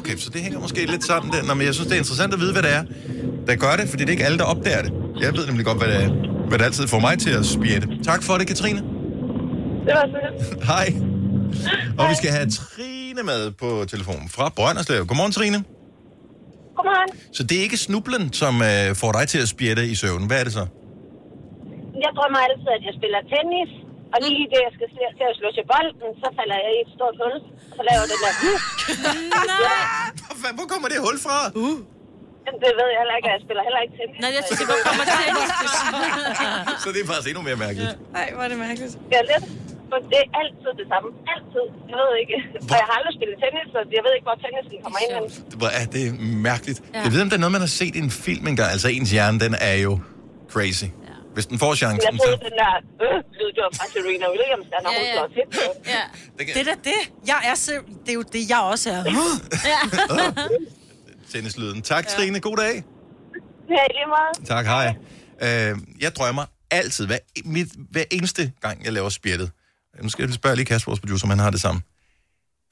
Okay, så det hænger måske lidt sammen der. Nå, men jeg synes, det er interessant at vide, hvad det er, der gør det, fordi det er ikke alle, der opdager det. Jeg ved nemlig godt, hvad det, er, hvad det altid får mig til at spjætte. Tak for det, Katrine.
Det var så lidt.
[laughs] Hej. Og vi skal have Trine med på telefonen fra Brønderslev. Godmorgen, Trine.
Godmorgen.
Så det er ikke snublen, som øh, får dig til at spjætte i søvn. Hvad er det så? [laughs]
Jeg drømmer altid, at jeg spiller tennis, og lige det, jeg skal sl- til at slå til bolden, så falder jeg i et stort hul, og så laver jeg den der... Nej!
Hvor kommer det hul fra?
Uh. Det ved jeg heller ikke, og jeg spiller heller ikke tennis. Nej, jeg
tænker, hvor kommer [laughs] tennis
Så det er faktisk endnu mere mærkeligt.
Nej, hvor er det mærkeligt. Ja, lidt. For det er altid det samme. Altid. Jeg ved ikke. Og jeg har aldrig spillet tennis, så jeg ved ikke, hvor tennisen kommer ind. hen.
Hvor er det mærkeligt.
Ja.
Ja. Jeg ved, om det er noget, man har set i en film engang. Altså, ens hjerne, den er jo crazy. Ja. Hvis den får
Men Jeg
chancen,
troede,
så...
den der øh, lyd, det var fra Serena Williams, der når hun slår til.
Ja.
Det er da det. Jeg er selv... Det er jo det, jeg også er.
Tennislyden. Tak, Trine. God dag.
Ja, i lige meget.
Tak, hej. Øh, jeg drømmer altid, hver, mit, hver eneste gang, jeg laver spjættet. Nu skal jeg spørge lige Kasper, vores producer, om han har det samme.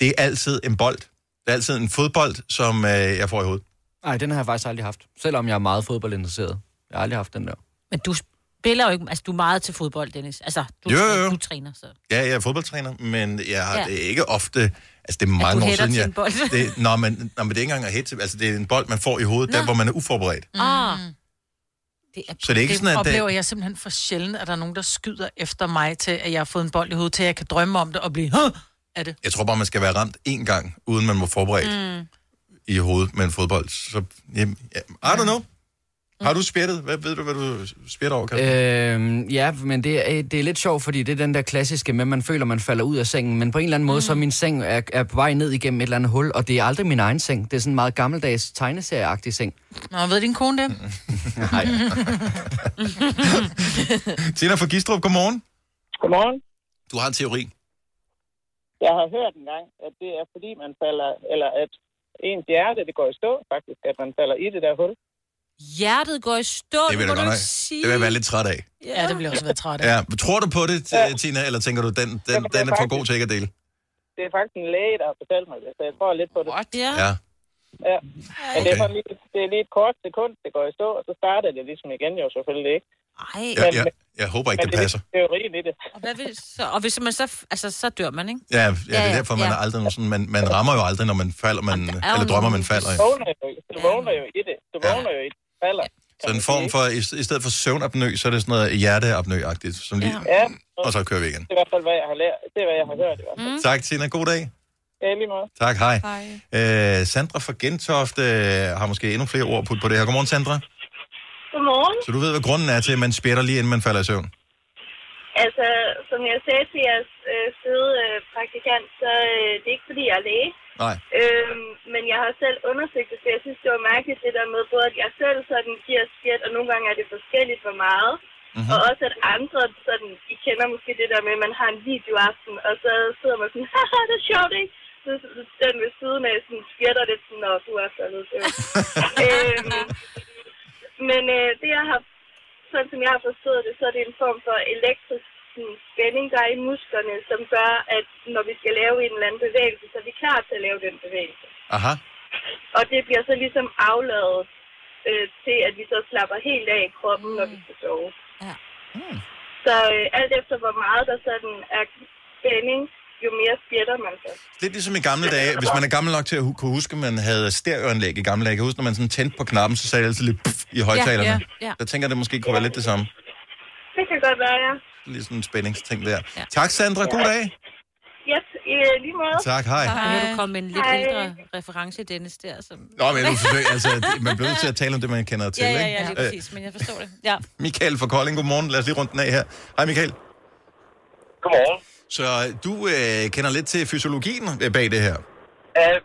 Det er altid en bold. Det er altid en fodbold, som øh, jeg får i hovedet.
Nej, den har jeg faktisk aldrig haft. Selvom jeg er meget fodboldinteresseret. Jeg har aldrig haft den der.
Men du spiller jo ikke... Altså, du er meget til fodbold, Dennis. Altså, du,
Jo, jo, jo.
du træner, så...
Ja, jeg er fodboldtræner, men jeg har
Ja.
ja. det er ikke ofte... Altså, det er mange år
hætter
siden,
til
jeg...
en bold.
Det, nå, men, nå, men det er ikke engang at hætte. Altså, det er en bold, man får i hovedet,
Nå.
der hvor man er uforberedt.
Mm. Ah. Det er,
Så det er ikke
det
sådan, at øh, det-
oplever jeg simpelthen for sjældent, at der er nogen, der skyder efter mig til, at jeg har fået en bold i hovedet, til at jeg kan drømme om det og blive... Huh! Er det?
Jeg tror bare, man skal være ramt én gang, uden man må forberedt mm. i hovedet med en fodbold. Så, jamen, ja, I don't know. Har du spjættet? Hvad, ved du, hvad du spjætter over, Kasper?
Øhm, ja, men det er, det er lidt sjovt, fordi det er den der klassiske med, at man føler, man falder ud af sengen. Men på en eller anden måde,
Mhm.
mm. så er min seng er, er på vej ned igennem et eller andet hul, og det er aldrig min egen seng. Det er sådan en meget gammeldags tegneserieagtig seng.
Nå, ved din kone det?
Nej.
Øh.
Tina fra Gistrup, godmorgen.
Godmorgen.
Du har en teori.
Jeg har hørt engang, at det er fordi, man falder, eller at ens hjerte, det går i stå faktisk, at man falder i det der hul.
Hjertet går i stå,
Det vil
må
jeg
du
godt nok.
ikke sige.
Det vil jeg være lidt træt af.
Ja, det bliver også være træt af.
Ja. Tror du på det, ja. Tina, eller tænker du, den, den, den er for god til ikke at dele?
Det er faktisk en læge, der har fortalt mig det, så jeg tror lidt på det.
What? Ja.
Ja.
ja. Men det er, sådan lige, det er lige et kort sekund, det går i stå, og så starter det ligesom igen jo selvfølgelig ikke.
Ej.
Jeg, jeg, jeg håber ikke, det passer.
Det er teorien i det.
Og, hvad vil, så, og hvis man så... Altså, så dør man, ikke?
Ja, ja, det
Ja,
er
ja,
derfor, man,
ja.
er aldrig nogen sådan, man, man rammer jo aldrig, når man falder, man,
jo
eller drømmer, man
nogen-
falder.
Du
Ja.
vågner jo, du vågner jo i det. Du vågner jo i det. Du falder.
Så en form for, i, i stedet for søvnapnø, så er det sådan noget hjerteapnø-agtigt, som lige,
Ja,
og så kører vi igen.
det er i hvert fald, hvad jeg har lært. Det er, hvad jeg har hørt i hvert
Mm.
fald.
Tak, Tina. God dag.
Ja, i lige måde.
Tak, hej.
Hej.
Øh, Sandra fra Gentofte øh, har måske endnu flere ord på, på det her. Godmorgen, Sandra.
Godmorgen.
Så du ved, hvad grunden er til, at man spjætter lige inden man falder i søvn?
Altså, som jeg sagde til jeres øh, fede øh, praktikant, så øh, det er ikke, fordi jeg er læge.
Nej.
Øhm, men jeg har selv undersøgt det, for jeg synes, det var mærkeligt det der med, både at jeg selv sådan giver skæt, og nogle gange er det forskelligt for meget. Mm-hmm. Og også at andre [laughs] sådan, I kender måske det der med, at man har en videoaften, og så sidder man sådan, haha, det er sjovt, ikke?
side, den ved siden af sådan skvætter lidt sådan, når du er faldet. Øh. øhm, men øh, det, jeg har, sådan som jeg har forstået det, så er det en form for elektrisk sådan, spænding, der er i musklerne, som gør, at når vi skal lave en eller anden bevægelse, så er vi klar til at lave den bevægelse.
Aha.
Og det bliver så ligesom afladet øh, til, at vi så slapper helt af i kroppen, mm. når vi skal sove. Ja. Mm. Så øh, alt efter, hvor meget der sådan er spænding, jo mere spjætter man så.
Lidt ligesom i gamle dage, hvis man er gammel nok til at hu- kunne huske, at man havde stereoanlæg i gamle dage. Jeg kan huske, når man sådan tændte på knappen, så sagde det altid lidt puff i højtalerne.
ja, ja.
Der tænker jeg, det måske kunne være lidt det samme.
Det kan godt være, ja.
Lige sådan en spændingsting der. Tak, Sandra. God dag.
Yes, i øh, lige måde.
Tak, hej.
Hej. Kan du komme med en lidt
Hej.
ældre reference, Dennis, der? Som...
Nå, men du forsøger, altså, det- man bliver nødt til at tale om det, man kender til,
ja, ja, ja,
ikke? Øh,
lige præcis, men jeg forstår det. Ja.
Michael fra Kolding, godmorgen. Lad os lige runde den af her. Hej, Michael.
Godmorgen.
Så øh, du øh, kender lidt til fysiologien øh, bag det her.
Øh,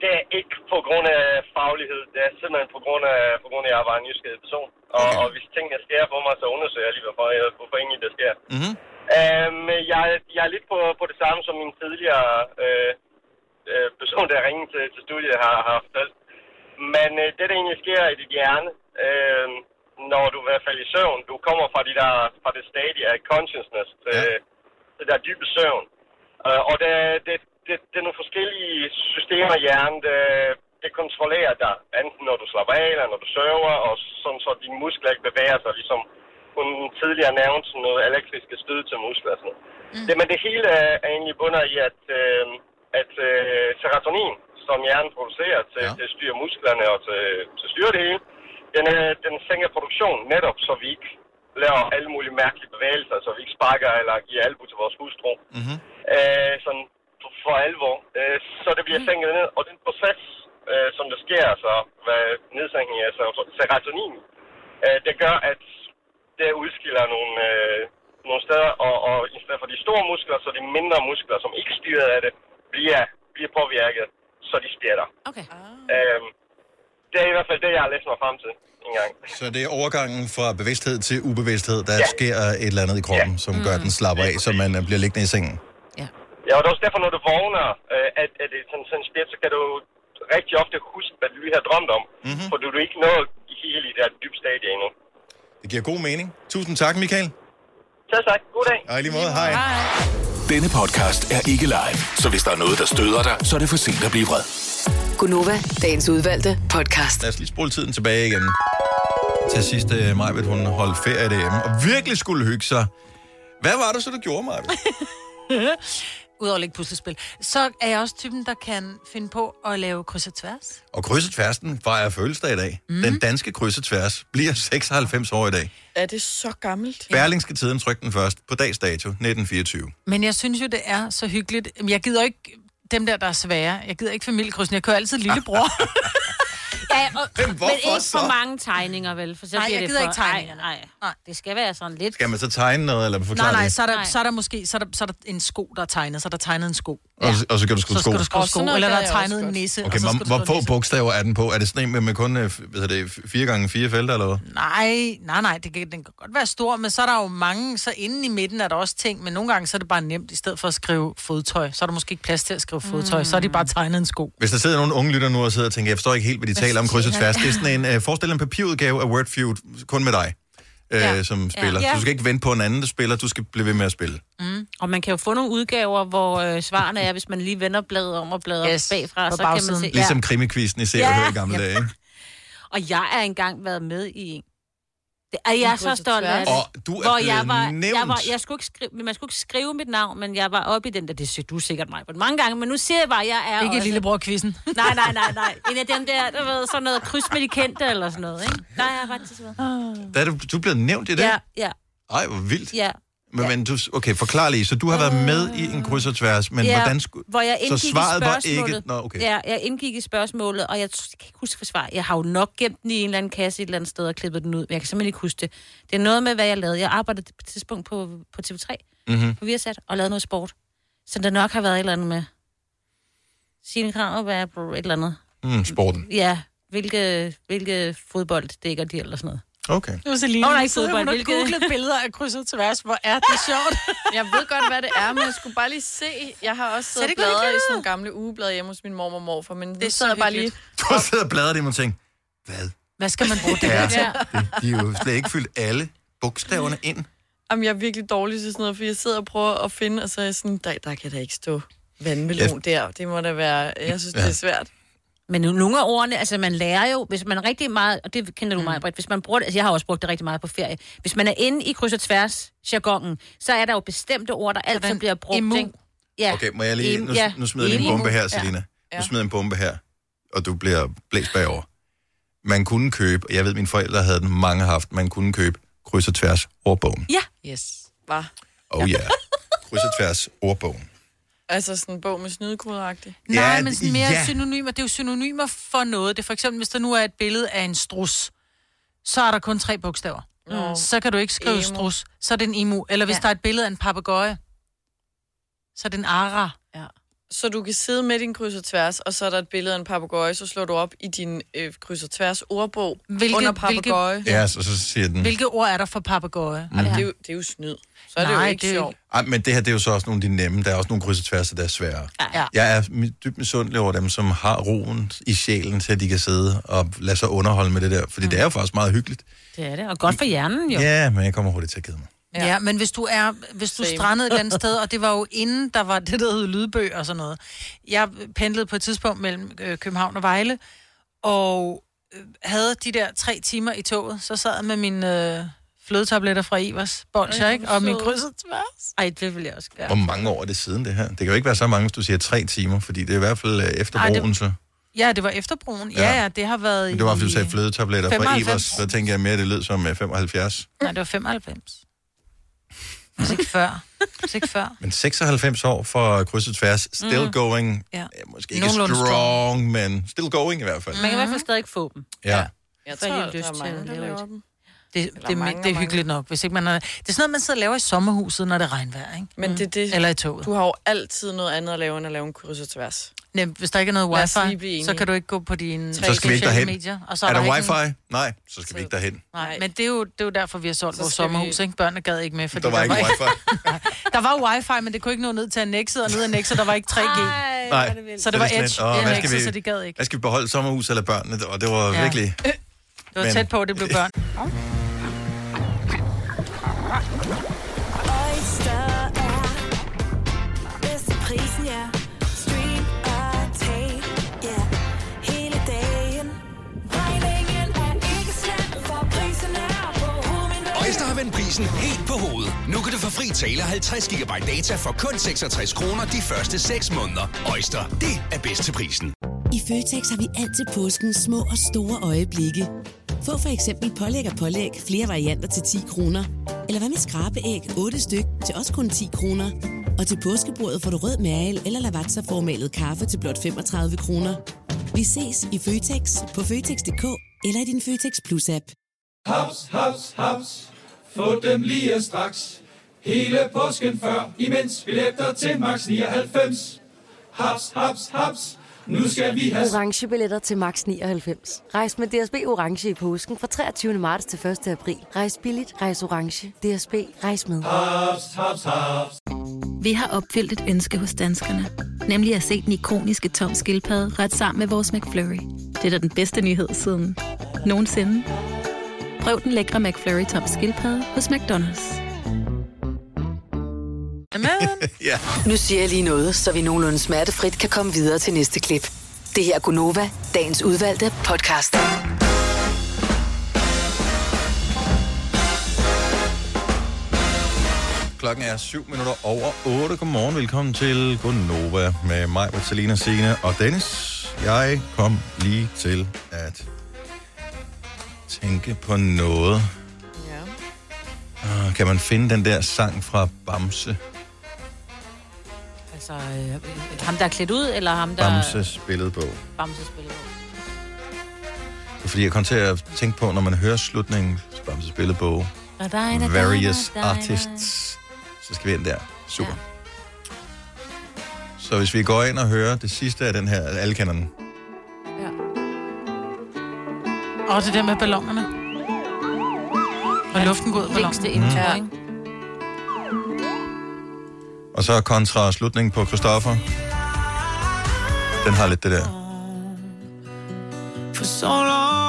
det er ikke på grund af faglighed. Det er simpelthen på grund af, på grund af at jeg var en nysgerrig person. Og, og hvis tingene sker på mig, så undersøger jeg lige, hvorfor, jeg- hvorfor egentlig det sker.
Mm-hmm.
Øhm, jeg, jeg er lidt på, på det samme, som min tidligere øh, øh, person, der ringede til, til studiet, har, har fortalt. Men øh, det, der egentlig sker i dit hjerne, øh, når du i hvert fald i søvn, du kommer fra, de der, fra det stadie af consciousness, ja. øh, det der dybe søvn. Øh, og det, det, det, det er nogle forskellige systemer i hjernen, det, det kontrollerer dig, enten når du slapper af, eller når du søver, og sådan så dine muskler ikke bevæger sig, ligesom hun tidligere nævnte sådan noget elektriske stød til muskler og sådan noget. Mm. Det, men det hele er, er egentlig bunder i, at, øh, at øh, serotonin, som hjernen producerer til, ja. til at styre musklerne og til, til at styre det hele, den, øh, den sænker produktion netop, så vi ikke laver alle mulige mærkelige bevægelser, så vi ikke sparker eller giver albu til vores hustru.
Mm-hmm.
Øh, sådan for- for alvor. Øh, så det bliver sænket ned, og den proces, øh, som der sker, altså hvad nedsænkning af ser- serotonin, øh, det gør, at det udskiller nogle, øh, nogle steder, og, og i stedet for de store muskler, så de mindre muskler, som ikke styrer af det, bliver, bliver påvirket, så de spjætter.
Okay.
Øhm, det er i hvert fald det, jeg har læst mig frem til en gang.
Så det er overgangen fra bevidsthed til ubevidsthed, der ja. sker et eller andet i kroppen, ja. som
Mm.
gør, at den slapper af, så man øh, bliver liggende i sengen.
Ja, og det er også derfor, når du vågner øh, at, at det er sådan, sådan spjæt, så kan du rigtig ofte huske, hvad du lige har drømt om. Mm-hmm. For du er ikke nået helt i det her dybe stadie endnu.
Det giver god mening. Tusind tak, Michael.
Så tak. God dag.
Og i lige måde, hej.
Denne podcast er ikke live, så hvis der er noget, der støder dig, så er det for sent at blive vred.
Gunova, dagens udvalgte podcast.
Lad os lige spole tiden tilbage igen. Til sidst, øh, Majbet, hun holdt ferie derhjemme, og virkelig skulle hygge sig. Hvad var det så, du gjorde, Majbet?
Udover at lægge puslespil. Så er jeg også typen, der kan finde på at lave kryds og tværs.
Og krydset tværsen fejrer fødselsdag i dag.
Mhm.
Mm. Den danske krydset tværs bliver [laughs] 96 år i dag.
Er det så gammelt?
Berlingske Tiden trykte den først på dags dato, 1924.
Men jeg synes jo, det er så hyggeligt. Jamen, Jeg gider ikke dem der, der er svære. Jeg gider ikke familiekrydsen. Jeg kører altid [laughs] lillebror.
Ja, og, men,
hvorfor
ikke
så?
for mange tegninger, vel? For så
Nej,
bliver
jeg
det
gider
for...
ikke tegningerne.
Nej, nej. Det skal være sådan lidt...
Skal man så tegne noget, eller
Nej,
forklare
nej,
det?
så er, der, så er der måske så er der, så er der en sko, der er tegnet. Så er der tegnet en sko.
Og, så- og så kan du skrive
Så
sko.
skal du skrive sko. Eller der er tegnet en nisse.
Okay,
og så skal
hvor,
du
hvor
skrive
få
nisse.
bogstaver er den på? Er det sådan en med, med kun øh, f- hvad hedder det, 4 gange 4 felter, eller hvad?
Nej, nej, nej, det kan, den kan godt være stor, men så er der jo mange, så inde i midten er der også ting, men nogle gange så er det bare nemt, i stedet for at skrive fodtøj, så er der måske ikke plads til at skrive fodtøj, mm. så er de bare tegnet en sko.
Hvis der sidder nogle unge lytter nu og sidder og tænker, jeg forstår ikke helt, hvad de
Hvad
taler om krydset
siger
tværs.
han?
Det er sådan en, øh, forestil dig en papirudgave af Wordfeud, kun med dig, øh,
Ja.
som
Ja.
spiller.
Ja.
Så du skal ikke vente på en anden, der spiller, du skal blive ved med at spille.
Mm. Og man kan jo få nogle udgaver, hvor øh, svarene er, hvis man lige vender bladet om og blader yes. bagfra,
på
så kan man
bagsiden.
se...
Ligesom krimikvisten i
Ja.
serien ja. i gamle
Ja.
dage. Ikke?
Og jeg er engang været med i en. Det er jeg
En
så stolt af.
kryds
det.
og tværs. Og
du er
Hvor
blevet
jeg var, Jeg
nævnt.
var, jeg skulle ikke skrive, men man skulle ikke skrive mit navn, men jeg var oppe i den der, det siger du sikkert mig, men mange gange, men nu siger jeg bare, at jeg er
Ikke
også...
lillebror-quizzen.
[laughs] Nej, nej, nej, nej. En af dem der, der ved, sådan noget kryds med de kendte eller sådan noget, ikke? Der er jeg ret til
Der er du, du er blevet nævnt i det?
Ja, ja,
Ej, hvor vildt.
ja. Øh,
Men, men du, okay, forklar lige. Så du har været med i en kryds og tværs, men
ja,
hvordan skulle...
Hvor jeg indgik
så svaret
i spørgsmålet.
var ikke... Nå, okay.
Ja, jeg indgik i spørgsmålet, og jeg, t- jeg kan ikke huske forsvaret. Jeg har jo nok gemt den i en eller anden kasse et eller andet sted og klippet den ud, men jeg kan simpelthen ikke huske det. Det er noget med, hvad jeg lavede. Jeg arbejdede på et tidspunkt på, på TV3,
Mhm.
mm-hmm. på Viasat, og lavede noget sport. Så der nok har været et eller andet med Signe Krav, hvad er et eller andet.
Mm, sporten.
Ja, hvilke, hvilke fodbold dækker de eller sådan noget.
Okay.
Det var Selina.
Åh, nej,
Så
fodbold,
Hun har
hvilket-
googlet billeder af krydset til værs. Hvor er det sjovt.
Jeg ved godt, hvad det er, men jeg skulle bare lige se. Jeg har også siddet
det
og
godt
bladret i sådan
ud.
nogle gamle ugeblade hjemme hos min mormor og morfar, men det sad jeg bare lige...
Du har siddet og bladret dem og tænkt, hvad
Hvad skal man bruge det der
er
til?
det? De har jo slet ikke fyldt alle bogstaverne ind.
Jamen, jeg er virkelig dårlig til sådan noget, for jeg sidder og prøver at finde, og så er jeg sådan, der, der kan der ikke stå vandmelon der. Det må da være... Jeg synes, det
Ja.
er svært.
Men nu- nogle af ordene, altså man lærer jo, hvis man rigtig meget, og det kender du
Mm.
meget, Britt, hvis man bruger det, altså jeg har også brugt det rigtig meget på ferie, hvis man er inde i kryds og tværs jargonen, så er der jo bestemte ord, der altid bliver brugt.
Emu.
ikke? Ja.
Okay, må jeg lige...
Em-
Nu,
ja.
nu smider jeg lige en
Emu.
bombe her,
Ja.
Selina.
Ja.
Nu smider jeg en bombe her, og du bliver blæst bagover. Man kunne købe, og jeg ved, mine forældre havde den, mange har haft, man kunne købe kryds og tværs ordbogen.
Ja. Yes. Var.
Oh yeah. Kryds og tværs ordbogen.
Altså sådan en bog med snydekoderagtigt.
Nej,
Ja,
men sådan mere
ja.
ja. synonymer. Det er jo synonymer for noget. Det er for eksempel, hvis der nu er et billede af en strus, så er der kun tre bogstaver.
Nå.
Mm. Så kan du ikke skrive
Emu.
emu. strus. Så er det en emu. Eller hvis ja. der er et billede af en papegøje, så er det en ara.
Ja. Så du kan sidde med din kryds og tværs, og så er der et billede af en papegøje, så slår du op i din øh, kryds og tværs ordbog
Hvilke-
hvilke, under
hvilke-
papegøje. Hvilke...
Ja, så, så siger den...
Hvilke ord er der for papegøje?
Mm.
Det, er jo, det er jo snyd. Så er Nej, det jo
Nej,
ikke
det er jo
sjovt.
Ej, men det her, det er jo så også nogle af de nemme. Der er også nogle kryds og tværs, der er svære.
Ja.
Jeg er mi- dybt misundelig over dem, som har roen i sjælen til, at de kan sidde og lade sig underholde med det der. Fordi mm. det er jo faktisk meget hyggeligt.
Det er det, og godt for hjernen jo.
Ja, men jeg kommer hurtigt til at kede mig.
Ja. ja, men hvis du er, hvis du
Same.
strandede et eller andet
[laughs]
sted, og det var jo inden, der var det, der hed lydbøger og sådan noget. Jeg pendlede på et tidspunkt mellem øh, København og Vejle, og øh, havde de der tre timer i toget, så sad jeg med mine øh, flødetabletter fra Ivers Bolsjer,
Ej,
ikke?
hvor
Og min
sød.
krydset tværs. Ej, det ville jeg også gøre.
Hvor mange år er det siden det her? Det kan jo ikke være så mange, hvis du siger tre timer, fordi det er i hvert fald øh, efter
Ej, det-
broen, så.
Ja, det var efterbroen. Ja,
Ja.
ja, det har været
Men det var, fordi du sagde
i-
flødetabletter fra
95.
Evers, så tænker jeg mere, at det lød som øh, 75.
Nej, det var 95. Hvis ikke før. Hvis ikke før.
Men 96 år for krydset tværs, still
Mhm.
going. Øh,
Ja.
Måske ikke
Nogenlunde strong.
strong, men still going i hvert fald.
Man kan i hvert fald stadig få dem.
Ja.
Jeg
Får
tror,
lige
der
lyst
er
til
mange,
at
der
lave
laver
et-
dem.
[laughs]
Det,
Eller
det, er,
mange,
mange, det er
mange.
hyggeligt nok, hvis ikke man har... Det er sådan noget, man sidder og laver i sommerhuset, når det er regnvejr, ikke?
Men det er det,
Eller i toget.
du har jo altid noget andet at lave, end at lave en kryds og tværs.
Nem, hvis der ikke er noget
Lad os lige
wifi,
blive enige.
så kan du ikke gå på dine
Så skal vi ikke
sociale
derhen.
medier. Og så
er,
er,
der,
ikke
wifi?
nogen-
Nej, så skal vi ikke derhen.
Nej, men det er, jo, det er jo derfor, vi har solgt
Så
vores
skal vi-
sommerhus, ikke? Børnene gad ikke med, fordi
Der var
[laughs]
ikke wifi.
Der var wifi, men det kunne ikke nå ned til Annexet, og ned til Annexet, der var ikke 3G.
Nej.
Så det var
sådan
Edge i
lidt, åh, hvad skal
Annexet,
vi-
så de gad ikke.
Hvad skal vi beholde sommerhus eller børnene? Og det var
Ja.
virkelig...
Det var
Men-
tæt på, at det blev
[laughs]
børn.
Oyster er bedst til prisen, ja. Stream og tag, ja. Hele dagen. Regningen er ikke slem, for prisen er på hovedet.
Øjster har vendt prisen helt på hovedet. Nu kan du få fri tale 50 GB data for kun 66 kroner de første 6 måneder. Øjster, det er bedst til prisen.
I Føtex har vi alt til påsken små og store øjeblikke. Få for eksempel pålæg og pålæg flere varianter til 10 kroner. Eller hvad med skrabeæg 8 styk til også kun 10 kroner. Og til påskebordet får du rød mal eller lavatserformalet kaffe til blot 35 kroner. Vi ses i Føtex på Føtex.dk eller i din Føtex Plus-app.
Haps, haps, haps. Få dem lige straks. Hele påsken før, imens billetter til max 99. Haps, haps, haps. Nu skal vi have
Orange billetter til max 99. Rejs med DSB Orange i påsken fra 23. marts til 1. april. Rejs billigt, rejs orange. DSB, rejs med.
haps, haps, haps.
Vi har opfyldt et ønske hos danskerne. Nemlig at se den ikoniske tom skildpadde ret sammen med vores McFlurry. Det er da den bedste nyhed siden nogensinde. Prøv den lækre McFlurry tom skildpadde hos McDonald's.
ja.
Nu siger jeg lige noget, så vi nogenlunde smertefrit kan komme videre til næste klip. Det her er Gunova, dagens udvalgte podcast.
Klokken er 7 minutter over 8. Godmorgen, velkommen til Gunnova med mig, med Selina Sine og Dennis. Jeg kom lige til at tænke på noget. Ja. Kan man finde den der sang fra Bamse?
Altså, øh, ham der er klædt ud, eller ham der...
Bamses billedbog.
Bamses billede.
Det er Fordi jeg kom til at tænke på, når man hører slutningen, Bamses billedbog,
Da, da, da, da,
Various
da, da, da.
Artists. Så skal vi ind der. Super. Ja. Så hvis vi går ind og hører det sidste af den her, alle kender den.
Og det der med ballongerne. Og luften går ud på
længste intro,
Ja.
ikke?
Og så kontra slutningen på Christoffer. Den har lidt det der. Mm.
for so long.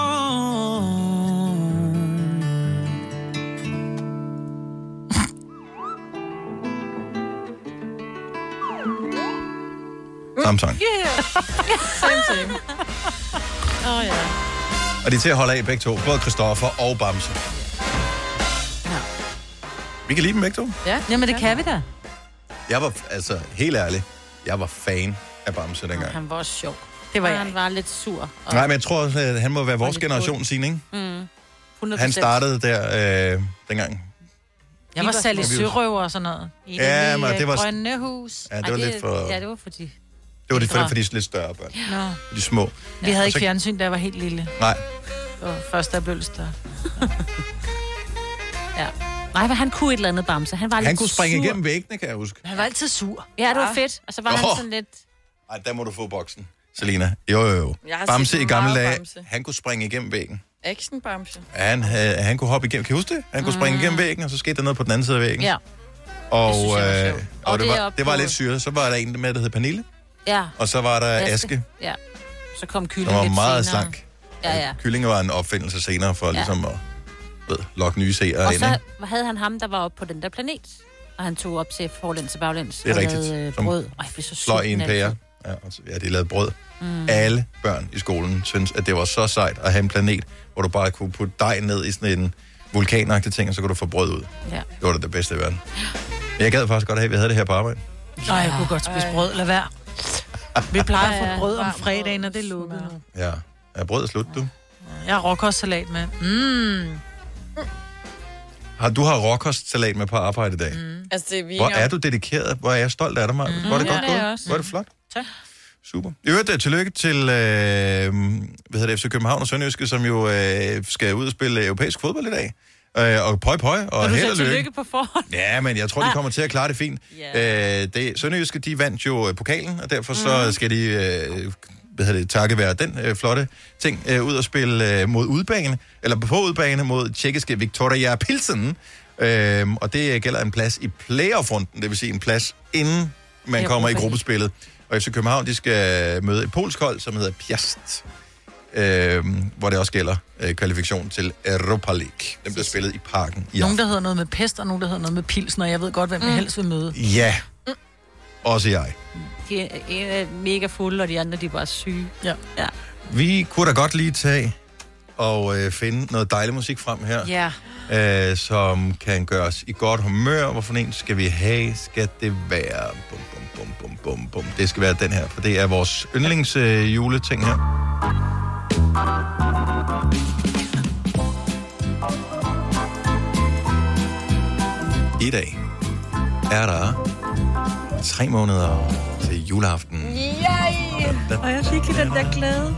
Samsung.
Mm. Yeah. [laughs] same, same.
Åh, oh, ja.
Og de er til at holde af begge to. Både Christoffer og Bamse. Vi kan lide dem begge to.
Ja, Jamen, det kan vi da.
Jeg var, altså, helt ærlig, jeg var fan af Bamse dengang.
Han var også sjov.
Det var jeg.
Han var lidt sur. Og...
Nej, men jeg tror, også, at han må være vores generation, Signe, ikke?
Mm. 100%.
Han startede der øh, dengang.
Jeg var selv i sørøver og sådan noget. I
Ja,
det
men
lille
det var-
grønne hus.
Ja, det var
Ej,
lidt for-
Ja, det var fordi...
Det var det for,
Nå.
for de lidt større børn.
Nå.
For de små.
Vi havde
Og
ikke
så-
fjernsyn, da jeg var helt lille.
Nej,
Og først der blev lidt større.
Ja. Nej, men han kunne et eller andet bamse. Han var
han
lidt
kunne springe Ah.
sur.
igennem væggene, kan jeg huske.
Han var altid sur.
Ja, det var fedt. Og så var han
Nå.
sådan lidt...
Nej, der må du få boksen. Selina, jo jo jo.
Jeg har
Bamse
set
i gamle
meget
dage,
Bamse.
han kunne springe igennem væggen.
Actionbamse.
Han, havde, han kunne hoppe igennem, kan I huske det? Han kunne springe igennem væggen, og så skete der noget på den anden side af væggen.
Mm. Ja.
Og,
synes jeg var
øh,
sjovt.
og,
Og
det,
det er
var,
oppe
det var
på-
lidt syret. Så var der en med, der hed Pernille,
Ja.
og så var der Aske,
Ja. Så kom kylden
der var
lidt
meget
senere.
slank.
Ja, ja.
Kyllinger var en opfindelse senere for
Ja.
ligesom at ved, lokke nye seere
Og
ind.
så
ikke?
havde han ham, der var oppe på den der planet. Og han tog op til forlæns og baglæns.
Det er
og
rigtigt.
lavede, øh,
Som
brød. Ej, jeg blev så
Fløj i en
sulten altid.
pære. Ja, og så- ja, de lavede brød.
Mm.
Alle børn i skolen synes, at det var så sejt at have en planet, hvor du bare kunne putte dej ned i sådan en vulkanagtig ting, og så kunne du få brød ud.
Ja.
Det var da det bedste i verden. Men jeg gad faktisk godt have, at vi havde det her på arbejde.
Nej, jeg kunne godt spise brød. Lad være. Vi plejer at få brød om fredagen, og det er lukket nu.
Ja. Er brødet slut, du?
Jeg har råkostsalat med. Mm.
Har, du har råkostsalat med på arbejde i dag. Mm.
Altså, det er vi
Hvor
engang-
er du dedikeret? Hvor er jeg stolt af dig, Maja. Mm. Hvor er det
Ja,
godt
det er jeg
gået?
også.
Hvor er det flot?
Tak.
Super. I øvrigt, øh, tillykke til øh, hvad hedder det, FC København og Sønderjyske, som jo øh, skal ud og spille europæisk fodbold i dag. Øh, og pøj pøj, og,
Og du
held
sagde
og lykke.
tillykke på forhånd.
Ja, men jeg tror, de kommer til at klare det fint. Yeah. Øh, det, Sønderjyske, de vandt jo øh, pokalen, og derfor så skal de, øh, hvad hedder det, takket være den øh, flotte ting, øh, ud og spille øh, mod udbane, eller på udbane mod tjekkiske Victoria Pilsen. Øh, og det gælder en plads i playoff-runden, det vil sige en plads inden man
Ja,
kommer i
okay.
gruppespillet. Og FC København, de skal øh, møde et polsk hold, som hedder Piast. Øh, hvor det også gælder øh, kvalifikation til Europa League. Den bliver spillet i parken i
Nogen, der hedder noget med pest, og nogen, der hedder noget med pilsen, og jeg ved godt, hvem jeg helst vil møde.
Ja. Også jeg.
De er, en er mega fulde, og de andre de er bare syge.
Ja.
ja.
Vi kunne da godt lige tage og øh, finde noget dejlig musik frem her,
Ja.
øh, som kan gøre os i godt humør. Hvorfor en skal vi have? Skal det være... Bum, bum, bum, bum, bum, bum. Det skal være den her, for det er vores yndlings øh, juleting her. I dag er der tre måneder til juleaften.
Yay!
Og jeg
fik den der glæde.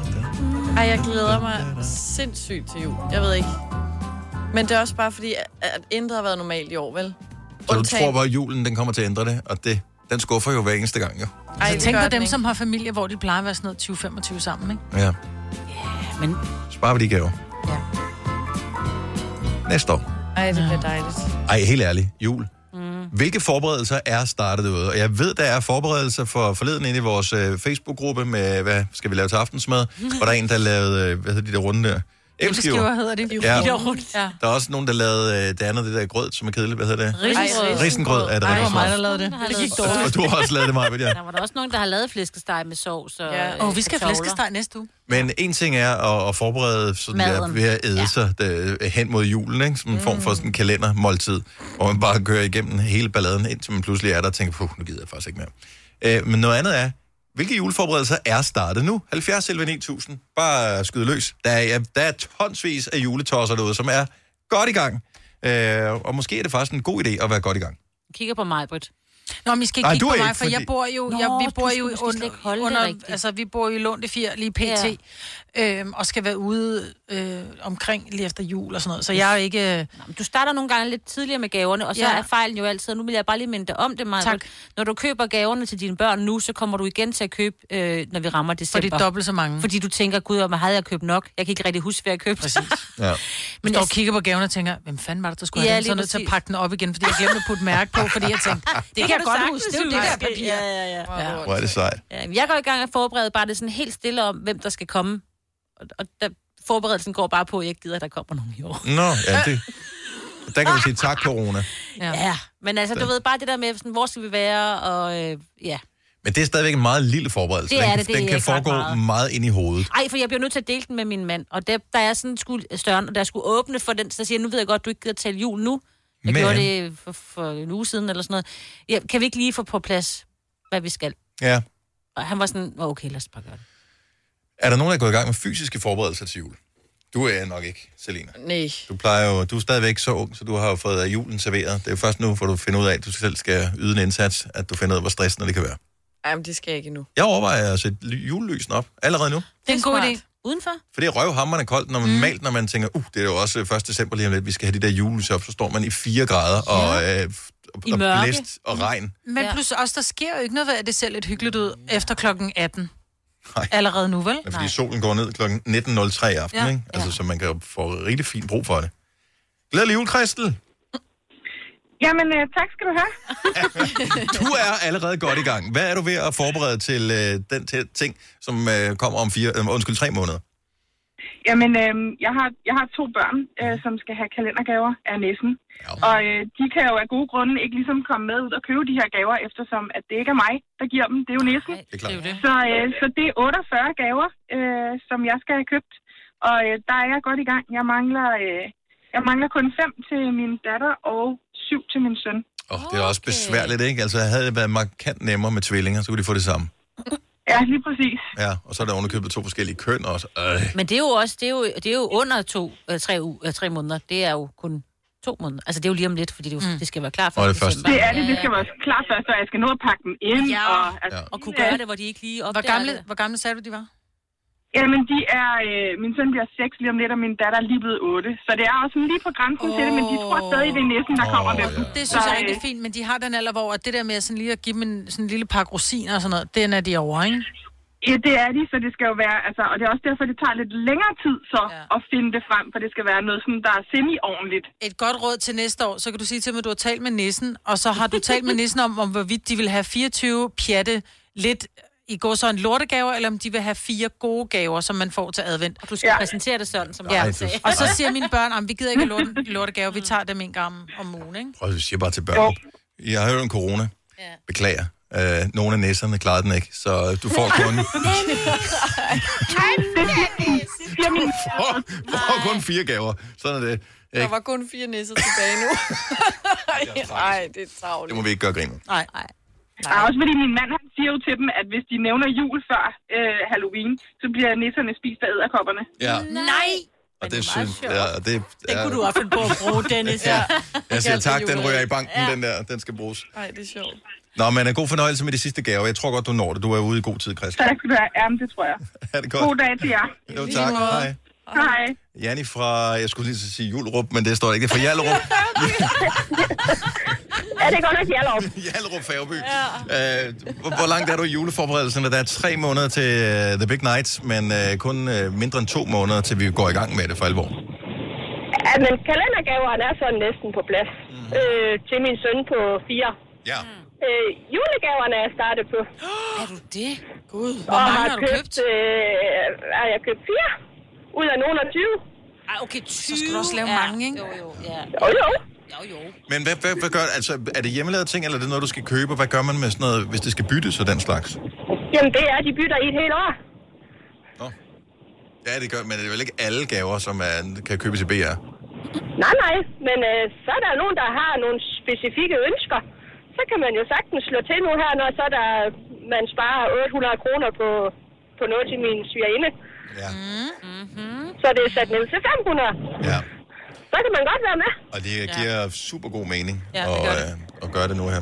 Ej, jeg glæder mig sindssygt til jul. Jeg ved ikke. Men det er også bare fordi, at- at intet har været normalt i år, vel?
Så du
Undtagen-
tror bare, at julen den kommer til at ændre det, og det, den skuffer jo hver eneste gang, jo.
Ej, så
det
tænk
gør
på
den
dem,
ikke.
som har familie, hvor de plejer at være sådan noget 20-25 sammen, ikke?
Ja.
men...
Sparer vi de gaver. Ja. Næste år.
Ej, det bliver dejligt.
Ej, helt ærligt. Jul. Mm. Hvilke forberedelser er startet derude? Og jeg ved, der er forberedelser for forleden inde i vores øh, Facebook-gruppe med, hvad skal vi lave til aftensmad? Hvor der er en, der lavede, øh, hvad hedder de der runde der?
Æbleskiver hedder det.
Ja.
De der rundt. Ja.
Der er også nogen, der lavede øh, det andet, det der grød, som er kedeligt. Hvad hedder det?
Risengrød.
Ej, Risengrød er det.
Ej, det var
rigtig
mig, der
smart.
lavede det. Det gik dårligt.
Og du har også lavet det, meget, ja.
Der var der også nogen, der har lavet flæskesteg med sovs og... øh,
Ja. Åh, vi skal have flæskesteg næste uge.
Men en ting er at, at forberede sådan der,
Maden.
ved at æde ja. sig øh, hen mod julen, ikke? som en form for sådan en kalendermåltid, hvor man bare kører igennem hele balladen, indtil man pludselig er der og tænker, puh, nu gider jeg faktisk ikke mere. Øh, men noget andet er, hvilke juleforberedelser er startet nu? 70 11 9000. Bare skyde løs. Der er, ja, der er tonsvis af juletosser derude, som er godt i gang. Øh, og måske er det faktisk en god idé at være godt i gang.
Kigger på mig, Britt.
Nå, men I skal ikke
Ej,
kigge
du
på
er
mig,
ikke,
for jeg
fordi-
bor jo,
Nå,
jeg, vi
du
bor
skal
jo
måske slet
under,
ikke holde det
under
rigtigt.
altså vi bor jo i Lund i 4 lige pt.
Ja.
Ja. Øhm, og skal være ude øh, omkring lige efter jul og sådan noget. Så jeg er ikke... øh,
Nå, men Du starter nogle gange lidt tidligere med gaverne, og så
Ja.
ja. er fejlen jo altid, og nu vil jeg bare lige minde dig om det, Maja.
Tak.
Når du køber gaverne til dine børn nu, så kommer du igen til at købe, øh, når vi rammer december.
Fordi dobbelt så mange.
Fordi du tænker, gud, om havde jeg købt nok? Jeg kan ikke rigtig huske, hvad jeg [laughs] købte. Præcis.
Ja.
Men jeg kigger på gaven og tænker, hvem fanden var det, der skulle
Ja,
have den? Så
lige
er jeg nødt til at
præcis.
pakke den op igen, fordi jeg glemte at putte mærke på, fordi jeg
[laughs]
tænkte, det, det kan jeg
du
godt
sagtens
huske, det er jo det der
huske.
papir.
Ja, ja, ja.
Ja.
Hvor er det sejt.
Ja, men jeg går i gang og forbereder bare det sådan helt stille om, hvem der skal komme. Og, og der, forberedelsen går bare på, at jeg ikke gider, at der kommer nogen i år.
Nå, ja, det... Der kan vi sige tak, corona.
Ja. ja. Men altså, du
Den-
ved bare det der med, sådan, hvor skal vi være, og øh, ja.
Men det er stadigvæk en meget lille forberedelse.
Det
den
er
kan,
det, det
den
er
kan
ikke ret
foregå meget.
meget.
meget ind i hovedet.
Ej, for jeg bliver nødt til at dele den med min mand. Og der, der er sådan skulle større, og der skulle åbne for den, så siger jeg, nu ved jeg godt, du ikke gider tale jul nu. Jeg
Men-
Men... gjorde det for, for, en uge siden eller sådan noget. Ja, kan vi ikke lige få på plads, hvad vi skal?
Ja.
Og han var sådan, "Nå, okay, lad os bare gøre det.
Er der nogen, der er gået i gang med fysiske forberedelser til jul? Du er nok ikke, Selina.
Nej.
Du plejer jo, du er stadigvæk så ung, så du har jo fået øh, julen serveret. Det er jo først nu, hvor du finder ud af, at du selv skal yde en indsats, at du finder ud af, hvor stressende det kan være.
Ej, men det skal jeg ikke endnu.
Jeg overvejer at sætte ly- julelysen op allerede nu.
Det er en god idé.
Udenfor?
For det er røvhammerne koldt, når man mm. maler, når man tænker, uh, det er jo også øh, 1. december lige om lidt, vi skal have de der julelys op, så står man i 4 grader og, øh, f- og,
I
og
mørke.
blæst og regn.
Men
Ja.
plus også, der sker jo ikke noget ved, at det ser lidt hyggeligt ud efter klokken 18.
Nej.
Allerede nu, vel?
Men fordi solen går ned kl. 19.03 i aften,
Ja.
ja. ikke? Altså, så man kan jo få rigtig fint brug for det. Glædelig jul, Christel.
Jamen, øh, tak skal du have.
[laughs] Du er allerede godt i gang. Hvad er du ved at forberede til øh, den til ting, som øh, kommer om fire, øh, undskyld, tre måneder?
Jamen, øh, jeg, har, jeg har to børn, øh, som skal have kalendergaver af næsten. Ja. Og øh, de kan jo af gode grunde ikke ligesom komme med ud og købe de her gaver, eftersom at det ikke er mig, der giver dem. Det er jo næsten.
Det er klart.
Så, øh, så det er 48 gaver, øh, som jeg skal have købt. Og øh, der er jeg godt i gang. Jeg mangler, øh, jeg mangler kun fem til min datter og syv til min søn.
Åh, oh, det er også besværligt, ikke? Altså, havde det været markant nemmere med tvillinger, så kunne de få det samme.
Ja, lige præcis.
Ja, og så er der underkøbet to forskellige køn også. Øh.
Men det er jo også, det er jo, det er jo under to, øh, tre, u, øh, tre måneder. Det er jo kun to måneder. Altså, det er jo lige om lidt, fordi det, er jo, det skal være klar for.
Og det første.
Det er det, det skal være klar først, og jeg skal nå at pakke dem ind.
Ja.
Og, altså,
Og kunne gøre det, hvor de ikke lige opdager
Hvor gamle,
det.
hvor gamle sagde du, de var?
Jamen, de er, øh, min søn bliver 6 lige om lidt, og min datter er lige blevet 8. Så det er også sådan lige på grænsen oh. til det, men de tror stadig, det er næsten, der kommer med dem.
Det synes
Så,
jeg er
øh,
rigtig fint, men de har den alder, hvor at det der med sådan lige at give dem en, sådan en lille pakke rosiner og sådan noget, den er de over, ikke?
Ja, det er de, så det skal jo være, altså, og det er også derfor, det tager lidt længere tid så ja. at finde det frem, for det skal være noget, sådan, der er semi-ordentligt.
Et godt råd til næste år, så kan du sige til mig, at du har talt med nissen, og så har du talt med nissen om, om hvorvidt de vil have 24 pjatte lidt i går så en lortegaver, eller om de vil have fire gode gaver, som man får til advent. Og
du skal præsentere det sådan, som
jeg
ja.
også sagde.
Og så siger mine børn, at vi gider ikke have lorte- lortegaver, vi tager dem en gang om- om ugen, ikke?
Prøv at sige bare til børn. Jeg har hørt om corona. Beklager. Øh, nogle af næserne klarede den ikke, så du får kun, får kun fire gaver. Sådan er det.
Der
Ikke?
var kun fire nisser tilbage
[laughs]
nu. Nej, det er travlt.
Det må vi ikke gøre grin med.
Nej.
Nej.
Og også fordi min mand, han siger jo til dem, at hvis de nævner jul før øh, Halloween, så bliver nisserne spist af æderkopperne.
Ja,
Nej!
og det synes jeg... Ja, og det, ja,
kunne du have
fundet på at bruge, Dennis.
Ja. Jeg siger tak, den ryger i banken, den der. Den skal bruges.
Nej, det er sjovt.
Nå, men øh, god fornøjelse med de sidste gaver. Jeg tror godt, du når det. Du er ude i god tid, Christian.
Tak skal du have. Jamen, det tror jeg.
[laughs] Ha' det
God
godt.
dag til jer.
Jo, tak. Hej.
Hej.
Janni fra, jeg skulle lige så sige Julrup, men det står ikke. Det er fra Jallerup.
Ja, det er godt nok Hjallerup.
Hjallerup Færgeby. Ja. Øh, hvor, hvor langt er du i juleforberedelserne? Der er tre måneder til uh, The Big Night, men uh, kun uh, mindre end to måneder, til vi går i gang med det for alvor.
Ja, men kalendergaverne er sådan næsten på plads. Mm. Øh, til min søn på fire.
Ja.
Øh, julegaverne er jeg startet på.
Er du det? Gud,
og
hvor mange
har
har du
købt?
købt?
Øh, har jeg købt fire ud af nogen af 20.
Ej, okay, 20. Så
skal du også lave mange, ikke? Jo,
jo, ja.
Jo, jo.
Men hvad, hvad, hvad gør, altså, er det hjemmelavede ting, eller er det noget, du skal købe? og Hvad gør man med sådan noget, hvis det skal byttes og den slags?
Jamen, det er, de bytter i et helt år.
Ja, det gør, men det er vel ikke alle gaver, som man kan købes i BR?
Nej, nej, men øh, så er der jo nogen, der har nogle specifikke ønsker. Så kan man jo sagtens slå til nu her, når så er der, man sparer 800 kroner på, på noget til min svigerinde.
Ja.
Mm-hmm. Så det er sat ned til 500.
Ja.
Så kan man godt være med.
Og det giver ja. super god mening
Ja, det
at,
gør
øh, at gøre det nu her.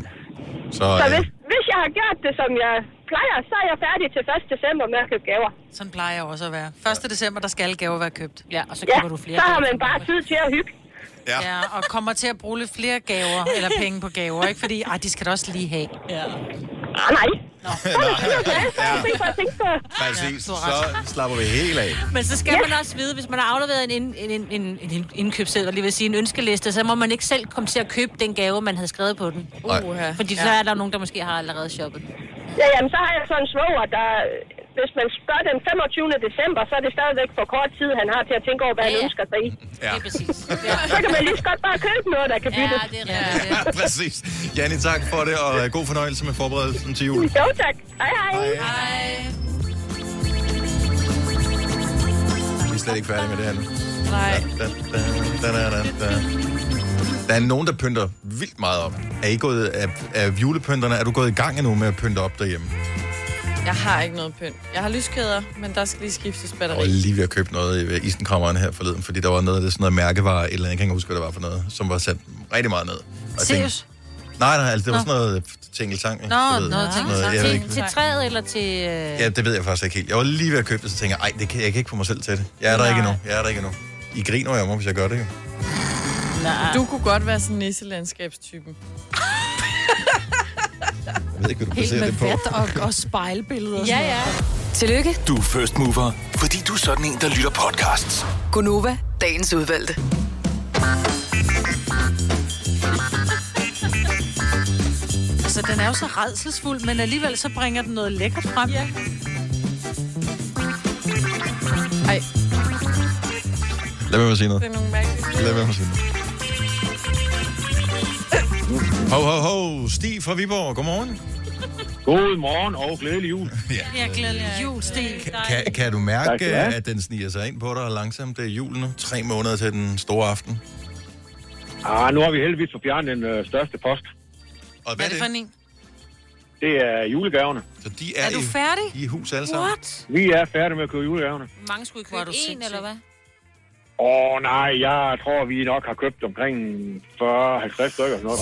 Så,
Så
øh,
hvis, hvis jeg jeg har gjort det, som jeg plejer, så er jeg færdig til 1. december med at købe gaver.
Sådan plejer jeg også at være. 1. december, der skal alle gaver være købt.
Ja, og så
ja, så har man bare tid til at hygge.
Ja. [laughs]
ja, og kommer til at bruge lidt flere gaver, eller penge på gaver, ikke? Fordi, ej, de skal da også lige have. Ja.
Ah, nej.
Nej, ja,
Det er for at tænke på.
præcis. Så slapper vi helt af.
Men så skal man også vide, hvis man har afleveret en, ind- en, en, en, en ind- indkøbsseddel, lige vil sige en ønskeliste, så må man ikke selv komme til at købe den gave, man havde skrevet på den.
Nej.
Fordi så
Ja.
er der nogen, der måske har allerede shoppet.
Ja, jamen, så har jeg sådan en svoger, der... Hvis man spørger den 25. december, så er det stadigvæk for kort tid, han har til at tænke over, hvad han ønsker sig i.
Ja. Det er
præcis.
Så kan man lige så godt bare købe noget, der kan byttes.
Ja, det er rigtigt.
Ja, præcis. Janni, tak for det, og øh, god fornøjelse med forberedelsen til jul.
Jo, tak. Hej, hej.
Hej.
Vi er slet ikke færdige med det her nu.
Nej.
Da, da, da, da, da, da. Der er nogen, der pynter vildt meget op. Er I gået af, af julepynterne? Er du gået i gang endnu med at pynte op derhjemme?
Jeg har ikke noget pynt. Jeg har lyskæder, men der skal lige skiftes
Jeg
batteri.
var lige ved at købe noget i ved isenkrammeren her forleden, fordi der var noget af det sådan noget mærkevare, et eller andet, jeg kan ikke huske, hvad det var for noget, som var sat rigtig meget ned. Og jeg tænkte-
Seriøs?
Nej, nej, altså det var
Nå.
sådan noget tingeltang.
Nå, noget
Jeg ved ikke.
til, til træet eller til... Øh...
Ja, det ved jeg faktisk ikke helt. Jeg var lige ved at købe det, så tænker jeg, ej, det kan, jeg kan ikke få mig selv til det. Jeg er der ikke endnu. Jeg er der ikke endnu. I griner jo af mig, hvis jeg gør det jo.
Du kunne godt være sådan en nisselandskabstypen.
Jeg ved ikke, hvad du
Helt
baserer
med
det på.
vat og, og spejlbilleder. og
Ja,
sådan noget.
Tillykke.
Du er first mover, fordi du er sådan en, der lytter podcasts.
Gunova, dagens udvalgte.
Altså, den er jo så redselsfuld, men alligevel så bringer den noget lækkert frem. Ja.
Ej,
Lad mig sige noget.
det er nogle mærkelige...
Lad være med at sige noget. Ho, ho, ho. Stig fra Viborg. Godmorgen.
Godmorgen og glædelig jul.
ja.
Jeg glæder jul, Sten.
Kan, kan du
Tak
mærke,
skal du have.
at den sniger sig ind på dig langsomt? Det er jul nu. Tre måneder til den store aften.
Ah, nu har vi heldigvis for fjern den øh, største post.
Og hvad er det for
en?
Det er julegaverne.
Så de er,
Er du
i,
færdig?
i hus alle sammen.
What?
Vi er færdige med at købe julegaverne.
Mange skulle købe en, eller hvad?
Åh oh, nej, jeg tror, vi nok har købt omkring 40-50 stykker. Sådan noget.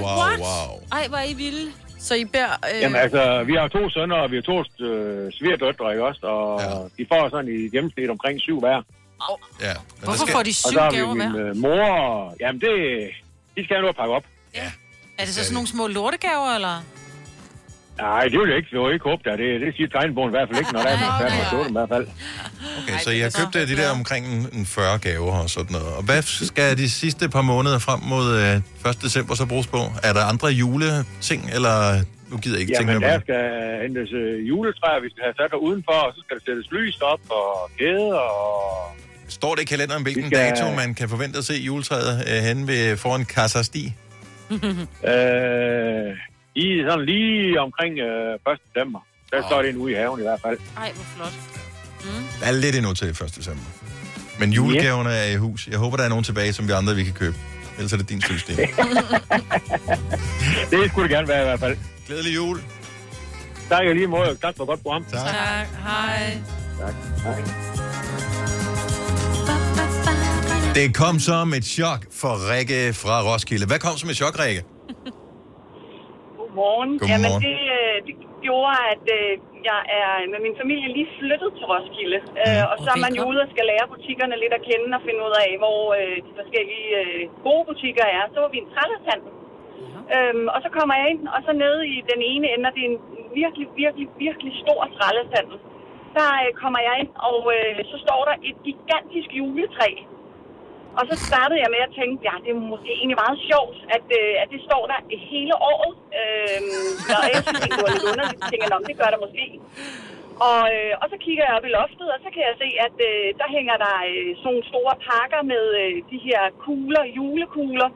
wow.
Ej, hvor er I vilde.
Så I beder... Øh...
Jamen altså, vi har to sønner, og vi har to øh, svigerdøtre, ikke også? Og ja. de får sådan i gennemsnit omkring syv hver.
Ja.
Hvorfor skal- får de syv
Og så har vi
gaver
min
hver?
øh, mor, og- jamen det... De skal have noget at pakke op.
Er det så sådan nogle små lortegaver, eller?
Nej, det vil jeg ikke, det vil jeg ikke håbe der. Det, det siger tegnbogen i hvert fald ikke, når der er man er færdig med at købe dem i hvert fald.
Okay, så jeg købte de der omkring en- en 40 gaver og sådan noget. Og hvad skal de sidste par måneder frem mod øh, 1. december så bruges på? Er der andre juleting, eller nu gider jeg ikke tænke
Jamen,
mere
der
på det?
skal hentes øh, juletræer, vi skal have sat der udenfor, og så skal der sættes lys op og kæder og...
Står det i kalenderen, hvilken
skal-
dato man kan forvente at se juletræet øh, henne ved, foran Casa Sti?
øh, I sådan lige omkring øh, 1. december. Der står det en ude i haven i hvert fald.
Ej, hvor flot.
Der er lidt endnu til 1. december. Men julegaverne er i hus. Jeg håber, der er nogen tilbage, som vi andre vi kan købe. Ellers er det din skyld, Stine.
Det skulle det gerne være i hvert fald.
Glædelig jul.
Tak i lige måde. Tak for et godt program.
Tak.
Tak, hej.
tak. Hej.
Det kom som et chok for Rikke fra Roskilde. Hvad kom som et chok, Rikke?
Godmorgen.
Godmorgen.
Jamen, det, øh, det gjorde, at øh, jeg er med min familie lige flyttet til Roskilde. Øh, og så er man jo ude og skal lære butikkerne lidt at kende og finde ud af, hvor øh, de forskellige øh, gode butikker er. Så var vi i en trællershandel. Øhm, og så kommer jeg ind, og så nede i den ene ende, og det er en virkelig, virkelig, virkelig stor trællershandel. Der øh, kommer jeg ind, og øh, så står der et gigantisk juletræ. Og så startede jeg med at tænke, ja, det er måske egentlig meget sjovt, at, øh, at det står der hele året. Øh, og jeg synes, det var lidt underligt. Jeg tænker, "Nå, men det gør der måske. Og, øh, og så kigger jeg op i loftet, og så kan jeg se, at øh, der hænger der øh, sådan nogle store pakker med øh, de her kugler, julekugler.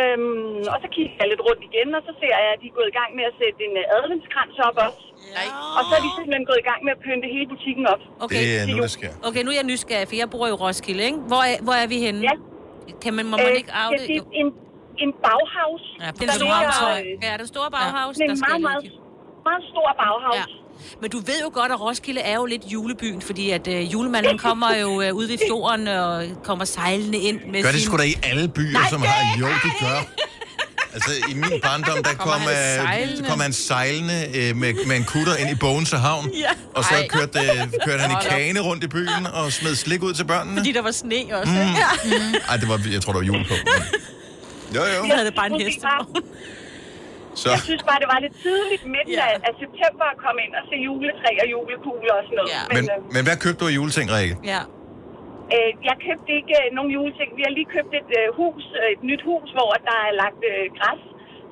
Øhm, og så kigger jeg lidt rundt igen, og så ser jeg, at de er gået i gang med at sætte en øh, adventskrans op også. Og så er de simpelthen gået i gang med at pynte hele butikken op.
Det er
til
nu,
jul.
det sker.
Okay, nu er jeg nysgerrig, for jeg bor i Roskilde, ikke? Hvor er, hvor er vi henne? Ja. Kan man, må man ikke arve
ja, det er
det?
en, en baghavs.
Ja, den store Bauhaus.
øh,
Ja, den store Bauhaus,
Ja,
der
en
skal
meget,
jeg
meget, meget stor baghavs. Ja.
Men du ved jo godt, at Roskilde er jo lidt julebyen, fordi at øh, julemanden kommer jo øh, ud ved fjorden og kommer sejlende ind med
Gør det
sin...
sgu da i alle byer, som har... Jo, det gør. Altså, i min barndom, der kom,
han
øh,
sejlende?
kom han sejlende øh, med, med en kutter ind i Bogense Havn.
Ja.
Og så
Ej.
kørte, øh, kørte han
Hold
i
op.
kane rundt i byen og smed slik ud til børnene.
Fordi der var sne også.
Mm.
Mm. Ja.
Ej, det var, jeg tror, der var jul på. men- Jo, jo.
Vi havde det bare en hest.
Så.
Jeg synes bare, det var lidt tidligt midten yeah. af, af september at komme ind og se juletræ og julekugler og sådan noget. Yeah.
Men, men hvad købte du af juleting, Rikke?
Ja.
Øh, jeg købte ikke øh, nogen juleting. Vi har lige købt et øh, hus, øh, et nyt hus, hvor der er lagt øh, græs.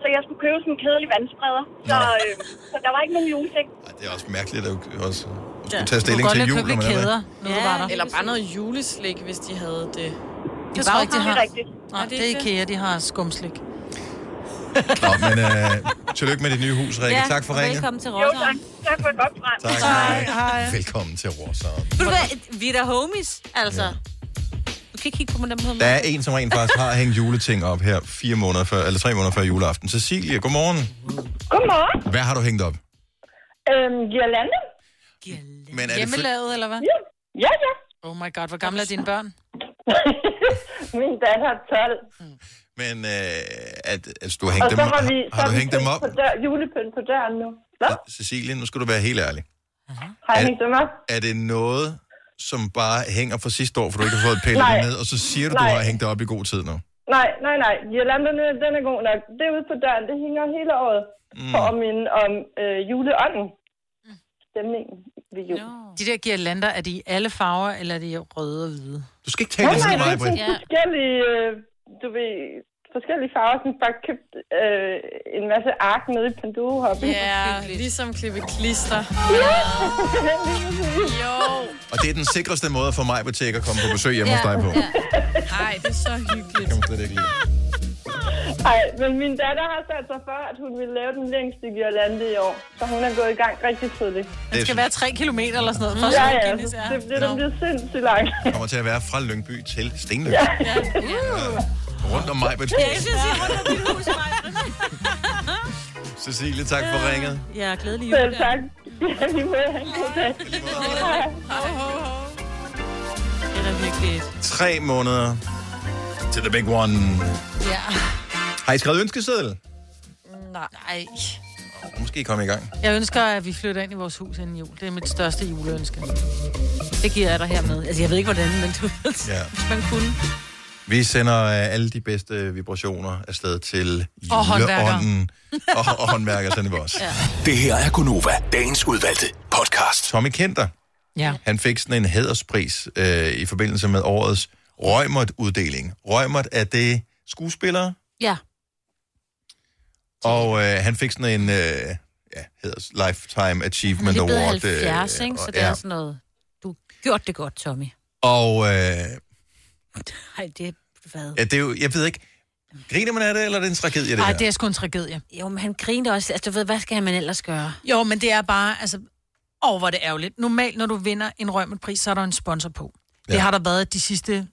Så jeg skulle købe sådan en kedelig vandspreder. Så, øh, så der var ikke nogen juleting.
Det er også mærkeligt, at du også at skulle tage stilling til jul, når man er der.
ja, eller bare noget juleslik, hvis de havde det.
Jeg tror ikke, de har.
Nej,
Nej, det er IKEA, de har skumslik.
Nå, men øh, tillykke med dit nye hus, Rikke. tak for ringen.
til
Rotterdam. Jo, tak. Tak for et godt program.
Tak.
Hej, hej.
Velkommen til Rorshavn.
Ved du hvad, vi er da homies, altså. Du kan ikke kigge på mig den måde.
Der er en, som rent faktisk har hængt juleting op her fire måneder før, eller tre måneder før juleaften. Cecilie, godmorgen.
Godmorgen.
Hvad har du hængt op?
Øhm, Girlande?
Men er det for...
Hjemmelavet, eller hvad?
Ja. ja, ja. [laughs]
Oh my god, hvor gamle er dine børn?
Min datter er 12.
Men øh, at, altså, du har hængt
og
dem,
så har vi,
har,
så
har du
vi
hængt dem
pynt
op?
På dør, julepynt på døren nu. Hvad?
Cecilie, nu skal du være helt ærlig.
Har jeg
Er-
hængt dem op?
Er det noget, som bare hænger fra sidste år, for du ikke har fået pillet
Nej.
det ned, og så siger du, du
Nej.
har hængt det op i god tid nu?
Nej, nej, nej. Girlanderne, den er god nok. Det ude på døren, det hænger hele året mm. for at minde om øh, juleånden.
Mm.
Stemningen ved jul. No.
De der girlander, er de i alle farver, eller er de i røde og hvide?
Du skal ikke
Nej, nej, det er sådan forskellige, øh, du ved, forskellige farver. Sådan bare købt øh, en masse ark nede i Panduro Hobby.
Ja, ligesom klippe klister. Jo.
Og det er den sikreste måde for mig, at at komme på besøg hjemme hos dig på.
Ja. Ej, det er så hyggeligt.
Kan man slet ikke lide.
Ej, men min datter har sat sig for, at hun ville lave den længste girlande i år. Så hun er gået i gang rigtig tidligt.
Det skal
være 3 km eller sådan
Mm.
noget. for at
Ja,
slå
ja.
Guinness, ja.
Det, det, den bliver sindssygt lang.
kommer til at være fra Lyngby til Stenløb.
Ja.
Rundt om mig,
Ja, jeg synes, jeg er rundt om mit hus,
Cecilie, tak for ringet.
Ja, glædelig jul.
Selv tak. [laughs] Ja, vi må have en god dag. Hej.
Det er da virkelig et.
Tre måneder til The Big One.
Ja.
Har I skrevet ønskeseddel?
Nej.
Måske komme i gang.
Jeg ønsker, at vi flytter ind i vores hus inden jul. Det er mit største juleønske. Det giver jeg dig hermed. Altså, jeg ved ikke, hvordan, men du ved,
Ja.
hvis man kunne.
Vi sender øh, alle de bedste vibrationer afsted til
Og håndværkere.
juleånden. Og, og håndværker sender vi også.
Det her er Gunova, dagens udvalgte podcast.
Tommy Kenter,
Ja.
han fik sådan en hæderspris øh, i forbindelse med årets Rømert-uddeling. Rømert er det skuespillere,
Ja.
Og øh, han fik sådan en, øh, ja, hedder Lifetime
Men
Achievement
det er blevet
Award. øh,
70, ikke? Så
og-
det er sådan noget... Du har gjort det godt, Tommy.
Og øh,
Nej, det er hvad?
ja, det er jo, jeg ved ikke, griner man af det, eller er det en tragedie, det
Nej,
her?
det er sgu en tragedie.
Jo, men han griner også. Altså, du ved, hvad skal man ellers gøre?
Jo, men det er bare, altså, åh, hvor er det ærgerligt. Normalt, når du vinder en rømmelpris, så er der en sponsor på. Ja. Det har der været de sidste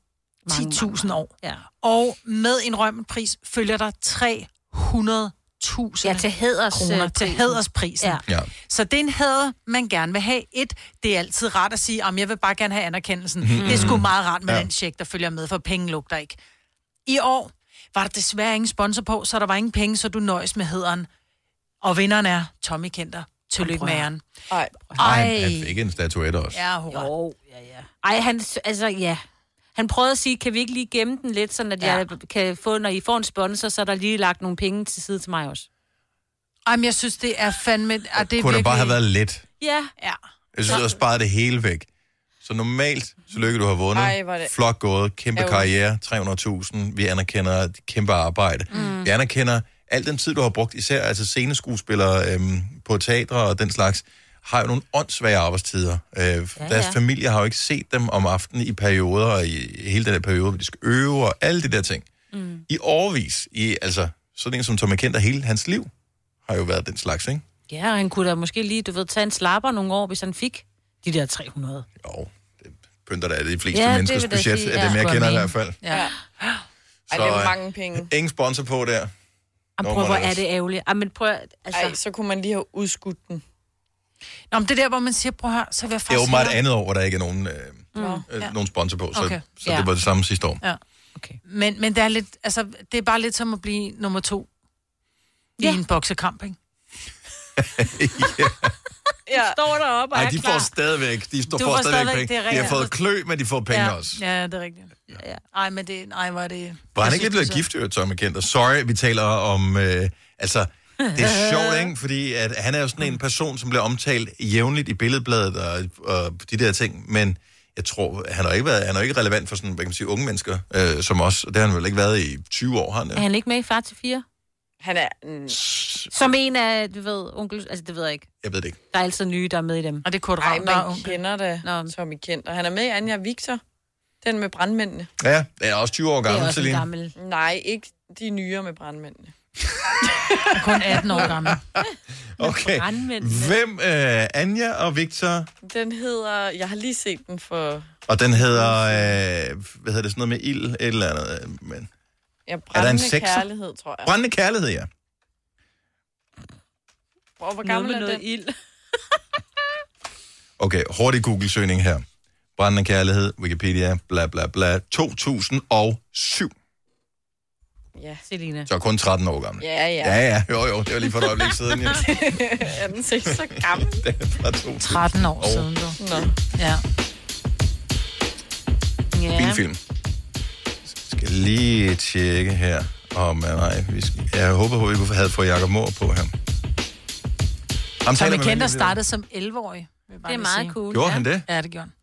10.000 år.
Ja.
Og med en rømmelpris følger der 300.000
Ja, til heders,
kroner
øh,
til
prisen.
hædersprisen. Ja.
Ja.
Så det er en hæder, man gerne vil have. Et, det er altid rart at sige, om jeg vil bare gerne have anerkendelsen.
Mhm.
Mm. Det er sgu meget rart med
Ja.
ja. den check, der følger med, for penge lugter ikke. I år var der desværre ingen sponsor på, så der var ingen penge, så du nøjes med hederen. Og vinderen er Tommy Kenter. Tillykke med æren.
Ej.
Nej, han fik en statuette også.
Ja, hurra.
Jo, ja, ja. Ej, han, altså, ja. Han prøvede at sige, kan vi ikke lige gemme den lidt, sådan at ja. jeg kan få, når I får en sponsor, så er der lige lagt nogle penge til side til mig også.
Ej, men jeg synes, det er fandme... Er det
Det kunne da bare have været let.
Ja.
Ja.
Jeg synes, du har sparet det hele væk. Så normalt, så lykke du har vundet.
Ej, hvor er det-
Flot gået, kæmpe karriere,
Ærgerligt.
300.000. Vi anerkender dit kæmpe arbejde. Mm. Vi anerkender al den tid, du har brugt, især altså sceneskuespillere øhm, på teatre og den slags, har jo nogle åndssvage arbejdstider. Øh, ja, deres
ja.
familie har jo ikke set dem om aftenen i perioder, og i hele den der periode, hvor de skal øve og alle de der ting. Mm. I årvis, i, altså sådan en som Tom McKenter, hele hans liv har jo været den slags, ikke?
Ja, og han kunne da måske lige, du ved, tage en slapper nogle år, hvis han fik de der 300.
Pynter der er det de fleste
Ja,
ja,
det
menneskers
vil jeg da
budget,
sige,
af
ja.
dem, jeg
Skulle jeg
kender i
mene.
hvert fald.
Ja.
Ej, det
øh,
er mange penge.
Ingen sponsor på der.
Jamen, prøv, hvor er det ærgerligt. Ej, men prøv, altså...
Ej, så kunne man lige have udskudt den.
Nå, men det er der, hvor man siger, prøv her, så vil jeg
Det er
faktisk...
jo meget
hellere-
andet år, hvor der ikke er nogen, øh, øh,
Ja.
nogen sponsor på, så,
Okay.
så
Ja.
det var det samme sidste år.
Ja. Okay. Men, men det, er lidt, altså, det er bare lidt som at blive nummer to I en boksekamp, ikke?
Ja. De står deroppe
[laughs] Nej, de får stadigvæk, de står
Du
får
får
stadigvæk
stadigvæk, det er
penge. De
rigtigt.
har fået klø, men de får penge
ja.
også.
Ja, det er rigtigt. Ja. Ej, men det... Nej, var det...
Var
Jeg
han ikke lige
synes,
blevet
det
gift, jo, Tommy Kent? Og sorry, vi taler om... Øh, altså, det [laughs] er sjovt, ikke? Fordi at han er jo sådan en person, som bliver omtalt jævnligt i billedbladet og, og de der ting, men jeg tror, han har ikke været, han har ikke relevant for sådan, hvad kan man sige, unge mennesker øh, som os. Og det har han vel ikke været i 20 år, har han
Er
det?
han ikke med i Far til 4?
Han er... mm,
Som en af, du ved, onkel... Altså, det ved jeg ikke.
Jeg ved det ikke.
Der er altid nye, der er med i dem.
Og det er Kurt
Ej, man kender det, Nå. Tommy Kent. Og han er med i Anja Victor. Den med brandmændene.
Ja, det er også 20 år gammel, Celine.
Nej, ikke de nyere med brandmændene.
Kun 18 år gammel.
Okay.
Brandmænd.
Hvem? Øh, Anja og Victor,
Den hedder... Jeg har lige set den for...
og den hedder, øh, hvad hedder det, sådan noget med ild, et eller andet. øh, Men.
Ja,
Er der en
brændende
sekser?
kærlighed, tror jeg.
Brændende kærlighed, ja.
Hvor, hvor
Noget
gammel
med
er
noget
den? ild.
Okay, hurtig Google-søgning her. Brændende kærlighed, Wikipedia, bla bla bla. 2007.
Ja.
Selina.
Så kun 13 år gammel.
Ja, ja.
Ja, ja. Jo, jo. Det var lige for et øjeblik siden. Ja.
er den ikke så gammel?
Det er fra 2000.
13 år siden, du.
Nå.
Ja.
Ja.
Bilfilm. Skal lige tjekke her. Om, øh, nej, vi skal, jeg håber, at vi havde fået Jacob Mohr på her. Ham
Tommy
taler man
Kenter
ikke med.
startede som 11-årig. vil jeg bare
Det er
lige
meget
sige.
cool,
Gjorde ja. han det?
Ja, det gjorde han.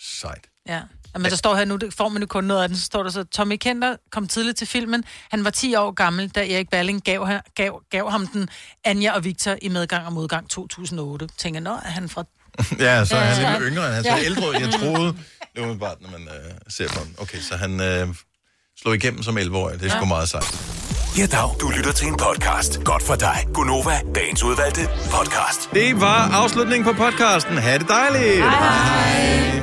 Sejt. [laughs]
Ja. Og Men der står her nu, det får man jo kun noget af den, så står der så, Tommy Kenter kom tidligt til filmen. Han var 10 år gammel, da Erik Balling gav, her- gav, gav ham den Anja og Victor i medgang og modgang 2008. Tænker, nå, er han fra...
Ja, så er han
Ja.
lidt yngre end han. Så
Ja.
ældre, end jeg troede. Det var bare, når man øh, ser på ham. Okay, så han øh, slog igennem som 11-årig. Det er sgu
Ja.
meget sejt.
Ja, dag. Du lytter til en podcast. Godt for dig. Gunova, dagens udvalgte podcast.
Det var afslutningen på podcasten. Ha' det dejligt. Hej. hej.